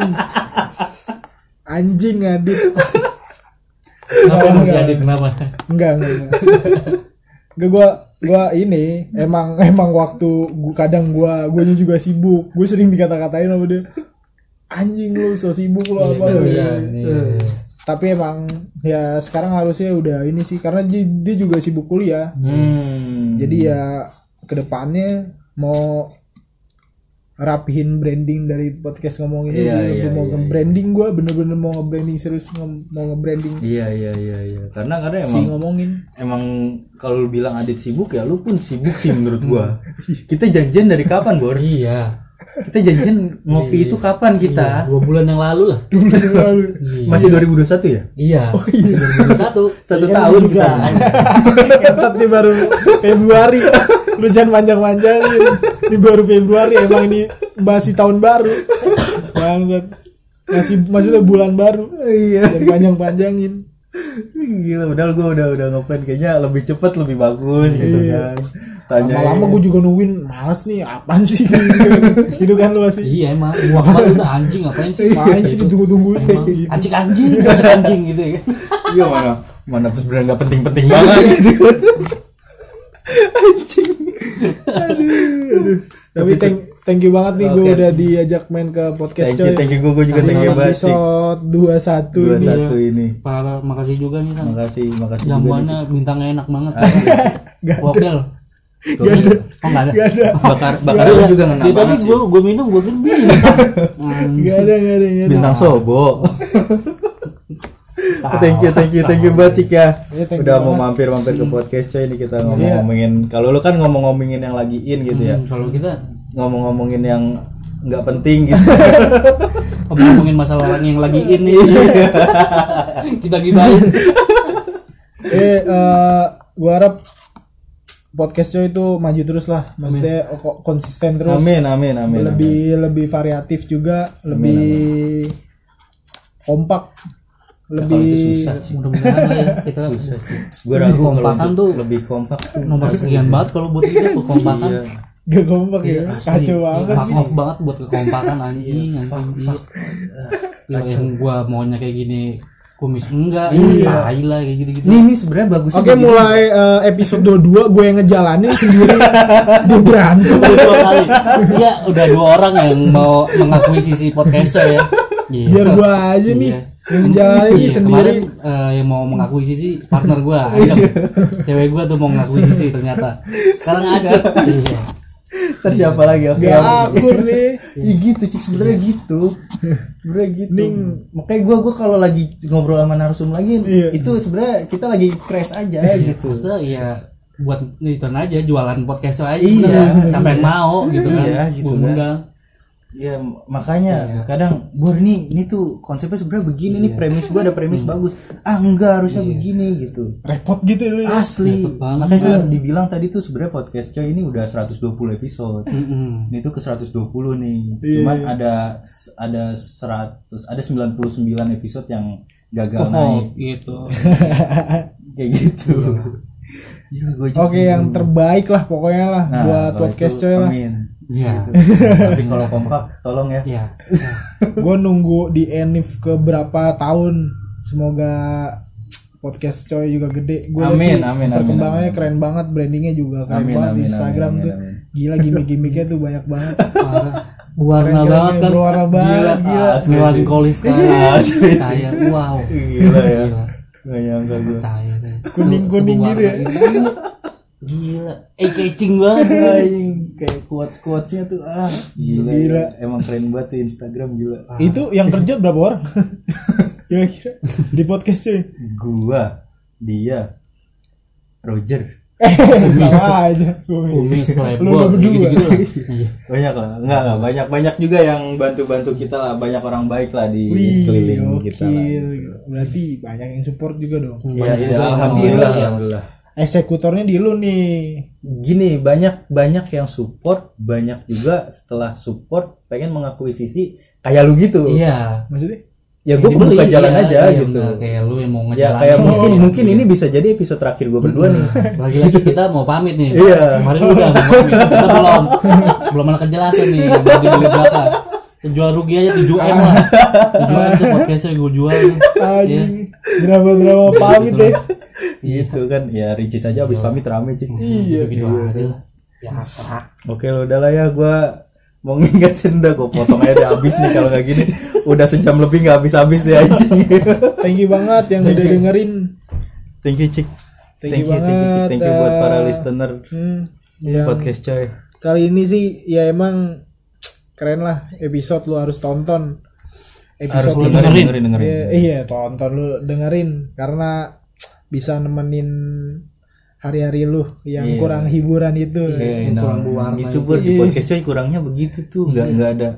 [SPEAKER 2] anjing adit
[SPEAKER 4] kenapa
[SPEAKER 2] Enggak,
[SPEAKER 4] masih
[SPEAKER 2] enggak.
[SPEAKER 4] adit kenapa
[SPEAKER 2] enggak enggak enggak gue gue ini emang emang waktu gua, kadang gue gue juga sibuk gue sering dikata-katain sama dia anjing lu so sibuk lu apa lu
[SPEAKER 4] Iya, iya.
[SPEAKER 2] Eh, tapi emang ya sekarang harusnya udah ini sih karena dia, dia juga sibuk kuliah
[SPEAKER 3] Hmm.
[SPEAKER 2] Jadi ya kedepannya mau rapihin branding dari podcast ngomong ini
[SPEAKER 3] Iya,
[SPEAKER 2] sih.
[SPEAKER 3] iya,
[SPEAKER 2] Gua mau
[SPEAKER 3] iya,
[SPEAKER 2] nge-branding gue bener-bener mau nge-branding serius nge- mau nge-branding
[SPEAKER 3] Iya iya iya iya. Karena karena
[SPEAKER 2] si
[SPEAKER 3] emang
[SPEAKER 2] ngomongin.
[SPEAKER 3] emang kalau lu bilang Adit sibuk ya lu pun sibuk sih menurut gua.
[SPEAKER 2] Hmm.
[SPEAKER 3] Kita janjian dari kapan, Bor?
[SPEAKER 4] iya
[SPEAKER 3] Kita janjian
[SPEAKER 2] Iya,
[SPEAKER 3] ngopi itu kapan kita?
[SPEAKER 4] dua bulan yang lalu lah
[SPEAKER 2] iya.
[SPEAKER 3] Masih 2021 ya?
[SPEAKER 4] iya masih 2021
[SPEAKER 3] Satu
[SPEAKER 2] Iya,
[SPEAKER 3] tahun
[SPEAKER 2] juga.
[SPEAKER 3] kita.
[SPEAKER 2] Ketat nih baru Februari. Lu jangan panjang-panjang Ini baru Februari emang ini masih tahun baru. Bangsat. Masih maksudnya bulan baru.
[SPEAKER 3] Iya.
[SPEAKER 2] Jangan panjang-panjangin.
[SPEAKER 3] Gila, padahal gue udah udah ngeplan kayaknya lebih cepet lebih bagus gitu kan. Tanya.
[SPEAKER 2] Iya. Lama-lama gue juga nungguin males nih apaan sih gitu kan lu masih
[SPEAKER 4] iya emang gua banget udah
[SPEAKER 2] Iya,
[SPEAKER 4] anjing ngapain sih
[SPEAKER 2] Ngapain sih
[SPEAKER 4] Gitu.
[SPEAKER 2] ditunggu-tungguin
[SPEAKER 4] Emang anjing anjing anjing anjing gitu ya
[SPEAKER 3] Iya mana? mana tuh sebenarnya nggak penting-penting banget
[SPEAKER 2] Tapi thank thank you banget nih gue
[SPEAKER 3] Oke.
[SPEAKER 2] udah diajak main ke podcast
[SPEAKER 3] thank you
[SPEAKER 2] coy.
[SPEAKER 3] thank you gue juga
[SPEAKER 2] Di
[SPEAKER 3] thank you banget sih
[SPEAKER 2] episode 21
[SPEAKER 3] dua
[SPEAKER 2] ini. ya.
[SPEAKER 3] satu ini
[SPEAKER 4] Para makasih juga nih kan.
[SPEAKER 3] makasih makasih juga nih.
[SPEAKER 4] Jamuannya bintangnya enak banget. Wakil. Oh enggak ada.
[SPEAKER 2] Gak ada.
[SPEAKER 3] bakar bakar
[SPEAKER 2] Iya.
[SPEAKER 3] lu juga ngena
[SPEAKER 4] Ya, tadi
[SPEAKER 3] banget sih
[SPEAKER 4] gua gua minum gua kan bintang. Hmm,
[SPEAKER 2] Gak ada, gak ada, gak ada.
[SPEAKER 3] bintang sobo thank you thank you thank you Bacik ya
[SPEAKER 2] Ah. Iya, thank
[SPEAKER 3] udah mau
[SPEAKER 2] you banget. Hmm. Iya.
[SPEAKER 3] mampir mampir ke podcast coy ini kita ngomong ngomongin kalau lu kan ngomong ngomongin yang lagi in gitu
[SPEAKER 2] Hmm.
[SPEAKER 3] ya
[SPEAKER 4] Kalau kita
[SPEAKER 3] ngomong ngomongin yang nggak penting gitu
[SPEAKER 4] ngomongin masalah orang yang lagi ini kita gibain
[SPEAKER 2] Eh, eh, gua harap podcast coy itu maju terus lah. Maksudnya ko- konsisten terus.
[SPEAKER 3] amin amin amin
[SPEAKER 2] lebih lebih variatif juga, lebih kompak, lebih
[SPEAKER 4] mudah-mudahan lah ya kita
[SPEAKER 3] gue ragu kalau
[SPEAKER 4] Kompakan
[SPEAKER 3] untuk
[SPEAKER 4] tuh.
[SPEAKER 3] lebih kompak tuh
[SPEAKER 4] nomor sekian banget kalau buat kita kekompakan
[SPEAKER 2] gak kompak
[SPEAKER 3] Iya,
[SPEAKER 2] ya. Kacau banget
[SPEAKER 4] fuck
[SPEAKER 2] sih.
[SPEAKER 4] off Iya. banget buat kekompakan anjing anjing iya. Gila, yang gua maunya kayak ggini kumis enggak iya lah kayak gitu-gitu
[SPEAKER 3] ini ini sebenarnya bagus
[SPEAKER 2] Oke, mulai eh, episode 22 gue yang ngejalanin sendiri. Dia berantem.
[SPEAKER 4] Udah dua kali iya udah dua orang yang mau mengakui sisi podcaster ya Iya.
[SPEAKER 2] Biar gua aja nih
[SPEAKER 4] Iya.
[SPEAKER 2] yang ngejalanin
[SPEAKER 4] Iya,
[SPEAKER 2] sendiri.
[SPEAKER 4] kemarin eh, yang mau mengakui sisi partner gua Ajeng. cewek gua tuh mau mengakui sisi ternyata sekarang ajak Iya.
[SPEAKER 3] terus siapa lagi oke
[SPEAKER 2] Gak aku nih.
[SPEAKER 3] Iya gitu cik sebenarnya gitu sebenarnya gitu makanya gue gue kalau lagi ngobrol sama narsum lagi
[SPEAKER 2] Iya.
[SPEAKER 3] itu sebenarnya kita lagi crash aja gitu
[SPEAKER 4] maksudnya ya buat itu aja jualan podcast aja
[SPEAKER 3] Iya.
[SPEAKER 4] sebenarnya. siapa yang mau gitu kan
[SPEAKER 3] Iya, gitu
[SPEAKER 4] Gua
[SPEAKER 3] kan.
[SPEAKER 4] undang.
[SPEAKER 3] ya makanya kadang bor ini ini tuh konsepnya sebenarnya begini nih premis gue ada premis bagus ah enggak harusnya begini gitu
[SPEAKER 2] Repot gitu lu. ya.
[SPEAKER 3] asli makanya
[SPEAKER 4] banget,
[SPEAKER 3] kan dibilang tadi tuh sebenarnya podcast coy ini udah 120 episode
[SPEAKER 4] Mm-mm.
[SPEAKER 3] ini tuh ke 120 nih cuman ada ada 100 ada 99 episode yang gagal naik
[SPEAKER 4] gitu
[SPEAKER 3] kayak gitu Gila, gua juga.
[SPEAKER 2] Oke, yang terbaik lah pokoknya lah
[SPEAKER 3] Hmm. Nah,
[SPEAKER 2] buat
[SPEAKER 3] kalau
[SPEAKER 2] podcast
[SPEAKER 3] itu,
[SPEAKER 2] coy lah.
[SPEAKER 3] amin. Gitu.
[SPEAKER 4] ya
[SPEAKER 3] tapi kalau kompak tolong ya
[SPEAKER 4] ya
[SPEAKER 2] gue nunggu di Enif ke berapa tahun semoga podcast coy juga gede gue
[SPEAKER 3] Amin, amin, amin,
[SPEAKER 2] perkembangannya
[SPEAKER 3] amin.
[SPEAKER 2] keren banget brandingnya juga keren
[SPEAKER 3] Amin,
[SPEAKER 2] banget di
[SPEAKER 3] amin,
[SPEAKER 2] Instagram
[SPEAKER 3] amin,
[SPEAKER 2] tuh
[SPEAKER 3] amin.
[SPEAKER 2] gila gimmick-gimmicknya tuh banyak banget
[SPEAKER 4] parah. warna
[SPEAKER 2] Keren-kerennya
[SPEAKER 4] banget kan
[SPEAKER 2] berwarna banget, Iya.
[SPEAKER 4] gila,
[SPEAKER 2] gila.
[SPEAKER 4] melankolis banget saya wow
[SPEAKER 2] Iya.
[SPEAKER 3] gila ya
[SPEAKER 4] Gila.
[SPEAKER 3] gak nyangka gue
[SPEAKER 4] percaya saya
[SPEAKER 2] Kuning-kuning
[SPEAKER 4] Sebuah
[SPEAKER 2] gitu ya.
[SPEAKER 4] warna ini. gila eh catching banget
[SPEAKER 3] kayak quotes quotesnya tuh ah gila,
[SPEAKER 2] Gila.
[SPEAKER 3] emang keren banget tuh Instagram gila
[SPEAKER 2] itu yang kerja berapa orang kira-kira di podcast coy
[SPEAKER 3] gua dia Roger
[SPEAKER 2] salah aja
[SPEAKER 3] Iya.
[SPEAKER 2] Umi.
[SPEAKER 4] kumis
[SPEAKER 2] Lu
[SPEAKER 4] lebar
[SPEAKER 2] udah berdua.
[SPEAKER 4] gitu gitu lah Iya.
[SPEAKER 3] banyak lah enggak lah banyak banyak juga yang bantu bantu kita lah banyak orang baik lah di, di
[SPEAKER 2] Wih,
[SPEAKER 3] sekeliling kita lah gitu.
[SPEAKER 2] gokil. berarti banyak yang support juga dong
[SPEAKER 3] ya, iya, alhamdulillah alhamdulillah
[SPEAKER 2] eksekutornya di lu nih
[SPEAKER 3] gini banyak banyak yang support banyak juga setelah support pengen mengakuisisi kayak lu gitu
[SPEAKER 4] iya
[SPEAKER 2] maksudnya
[SPEAKER 3] ya gue buka
[SPEAKER 4] Iya,
[SPEAKER 3] jalan aja
[SPEAKER 4] iya,
[SPEAKER 3] gitu
[SPEAKER 4] bener. kayak lu yang
[SPEAKER 3] ya
[SPEAKER 4] mau ngejalanin Iya.
[SPEAKER 3] kayak mungkin mungkin ini bisa jadi episode terakhir gue berdua nih
[SPEAKER 4] lagi-lagi kita mau pamit nih
[SPEAKER 3] Iya.
[SPEAKER 4] kemarin udah mau pamit kita belum belum ada kejelasan nih bagi beli berapa jual rugi aja 7 m lah 7 m tuh podcastnya gue jual nih Iya.
[SPEAKER 2] anjing drama-drama pamit deh
[SPEAKER 3] gitu kan ya Ricis aja abis pamit rame cik
[SPEAKER 2] iya
[SPEAKER 4] gitu aja lah
[SPEAKER 3] Ya, oke lo udah lah ya gue mau ngingetin dah gue potong aja udah habis nih kalau nggak gini udah sejam lebih nggak habis habis deh anjing
[SPEAKER 2] thank you banget yang udah dengerin
[SPEAKER 3] thank you cik
[SPEAKER 2] Thank you
[SPEAKER 3] thank you cik
[SPEAKER 2] banget,
[SPEAKER 3] thank you buat
[SPEAKER 2] eh,
[SPEAKER 3] para listener
[SPEAKER 2] Hmm, yang
[SPEAKER 3] podcast coy
[SPEAKER 2] kali ini sih ya emang keren lah episode lu harus tonton.
[SPEAKER 3] harus
[SPEAKER 2] Episode
[SPEAKER 3] dengerin dengerin dengerin
[SPEAKER 2] Iya, iya, tonton lu dengerin karena bisa nemenin hari-hari lu yang
[SPEAKER 3] Iya.
[SPEAKER 2] kurang hiburan itu.
[SPEAKER 3] Iya,
[SPEAKER 4] kurang
[SPEAKER 3] nah,
[SPEAKER 4] berwarna
[SPEAKER 3] itu buat di podcast coy kurangnya begitu tuh nggak nggak ada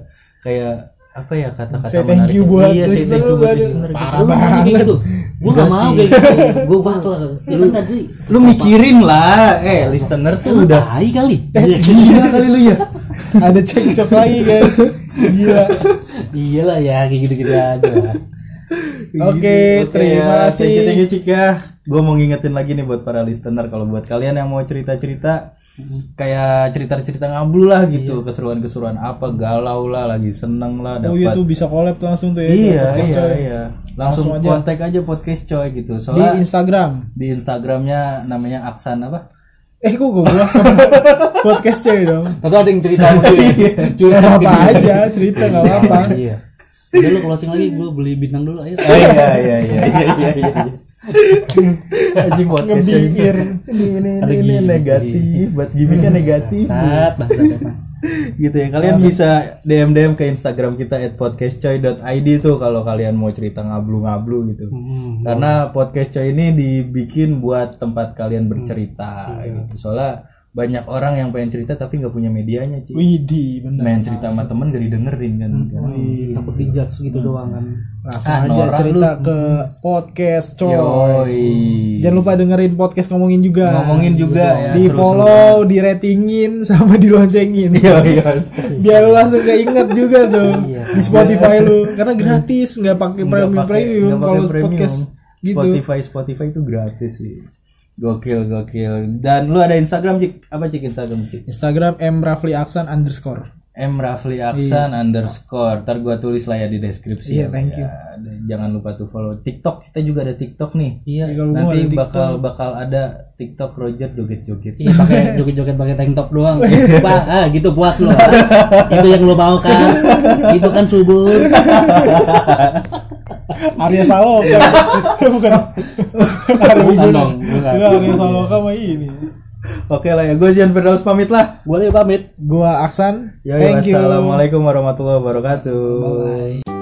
[SPEAKER 3] kayak apa ya kata-kata
[SPEAKER 2] Saya thank you buat
[SPEAKER 3] iya, saya
[SPEAKER 2] listener
[SPEAKER 3] thank you
[SPEAKER 2] lu,
[SPEAKER 3] buat
[SPEAKER 2] aduh.
[SPEAKER 3] listener gitu.
[SPEAKER 2] Parah
[SPEAKER 4] lu
[SPEAKER 2] banget.
[SPEAKER 4] maunya kayak gitu gue gak mau kayak gitu gue fuck lah ya kan tadi
[SPEAKER 3] lu mikirin lah eh listener tuh udah Iya.
[SPEAKER 4] tai kali
[SPEAKER 3] Eh, gila kali lu ya
[SPEAKER 2] Ada cekcok lagi guys. Gila.
[SPEAKER 4] iyalah ya kayak gitu-gitu aja
[SPEAKER 2] Oke, ya, terima kasih.
[SPEAKER 3] ya. Thank you, thank you, Cika. Gue mau ngingetin lagi nih buat para listener kalau buat kalian yang mau cerita-cerita kayak cerita-cerita ngablu lah gitu, keseruan-keseruan apa, galau lah, lagi seneng lah, dapat
[SPEAKER 2] Iya. Oh iya tuh bisa collab tuh langsung tuh ya.
[SPEAKER 3] Iya,
[SPEAKER 2] Podcast
[SPEAKER 3] iya,
[SPEAKER 2] coy.
[SPEAKER 3] iya. Langsung,
[SPEAKER 2] Langsung aja.
[SPEAKER 3] kontak aja podcast coy gitu.
[SPEAKER 2] Di
[SPEAKER 3] Soalnya di,
[SPEAKER 2] Instagram.
[SPEAKER 3] Instagramnya namanya Aksan apa?
[SPEAKER 2] Eh kok gue bilang podcast cewek dong.
[SPEAKER 4] Atau ada yang cerita sama gue. Curhat
[SPEAKER 2] Apa aja cerita nggak apa-apa.
[SPEAKER 4] Iya. Udah lu closing lagi, gue beli bintang dulu ayo.
[SPEAKER 3] Eh, iya, iya, iya, iya, iya, iya. Anjing podcast coy. Ini, ini, ini, ini negatif, buat gimmicknya negatif.
[SPEAKER 4] Sat, bahasa Jepang.
[SPEAKER 3] gitu ya kalian bisa dm dm ke instagram kita at podcastcoy.id tuh kalau kalian mau cerita ngablu ngablu gitu karena podcast coy ini dibikin buat tempat kalian bercerita gitu soalnya banyak orang yang pengen cerita tapi nggak punya medianya sih
[SPEAKER 2] Widih, bener.
[SPEAKER 3] main cerita sama temen gak didengerin kan
[SPEAKER 4] Takut dijudge segitu doang kan.
[SPEAKER 2] Langsung
[SPEAKER 3] Ah,
[SPEAKER 2] aja
[SPEAKER 3] norak
[SPEAKER 2] cerita ke podcast coy.
[SPEAKER 3] yoi
[SPEAKER 2] Jangan lupa dengerin podcast ngomongin juga.
[SPEAKER 3] ngomongin juga ya
[SPEAKER 2] di follow, di ratingin, sama di loncengin.
[SPEAKER 3] yoi
[SPEAKER 2] Biar lu langsung keinget juga tuh
[SPEAKER 4] Iya.
[SPEAKER 2] di Spotify lu karena gratis nggak pakai premium premium
[SPEAKER 3] nggak pakai
[SPEAKER 2] kalau podcast gitu.
[SPEAKER 3] Spotify Spotify itu gratis sih gokil gokil dan lu ada Instagram cik apa cik Instagram cik
[SPEAKER 2] Instagram M Rafli Aksan underscore.
[SPEAKER 3] M Rafli Aksan underscore ntar gua tulis lah ya di deskripsi ya,
[SPEAKER 2] Iya, thank
[SPEAKER 3] ya. Dan jangan lupa tuh follow TikTok kita juga ada TikTok nih
[SPEAKER 4] Iya.
[SPEAKER 2] Kalau gua
[SPEAKER 3] nanti
[SPEAKER 2] ada di-
[SPEAKER 3] bakal bakal ada TikTok Roger joget joget
[SPEAKER 4] Iya pakai joget-joget pakai tank top doang. Pak, ah gitu puas lo. ah. Itu yang lo mau kan? Itu kan subur.
[SPEAKER 2] Arya Saloka bukan
[SPEAKER 4] Bukan dong. Bukan.
[SPEAKER 2] Enggak, Arya Saloka mah ini
[SPEAKER 3] oke lah ya gue Zian Firdaus pamit lah
[SPEAKER 4] Boleh pamit.
[SPEAKER 2] gua Aksan
[SPEAKER 3] Yoi, wassalamualaikum warahmatullahi wabarakatuh
[SPEAKER 4] Bye.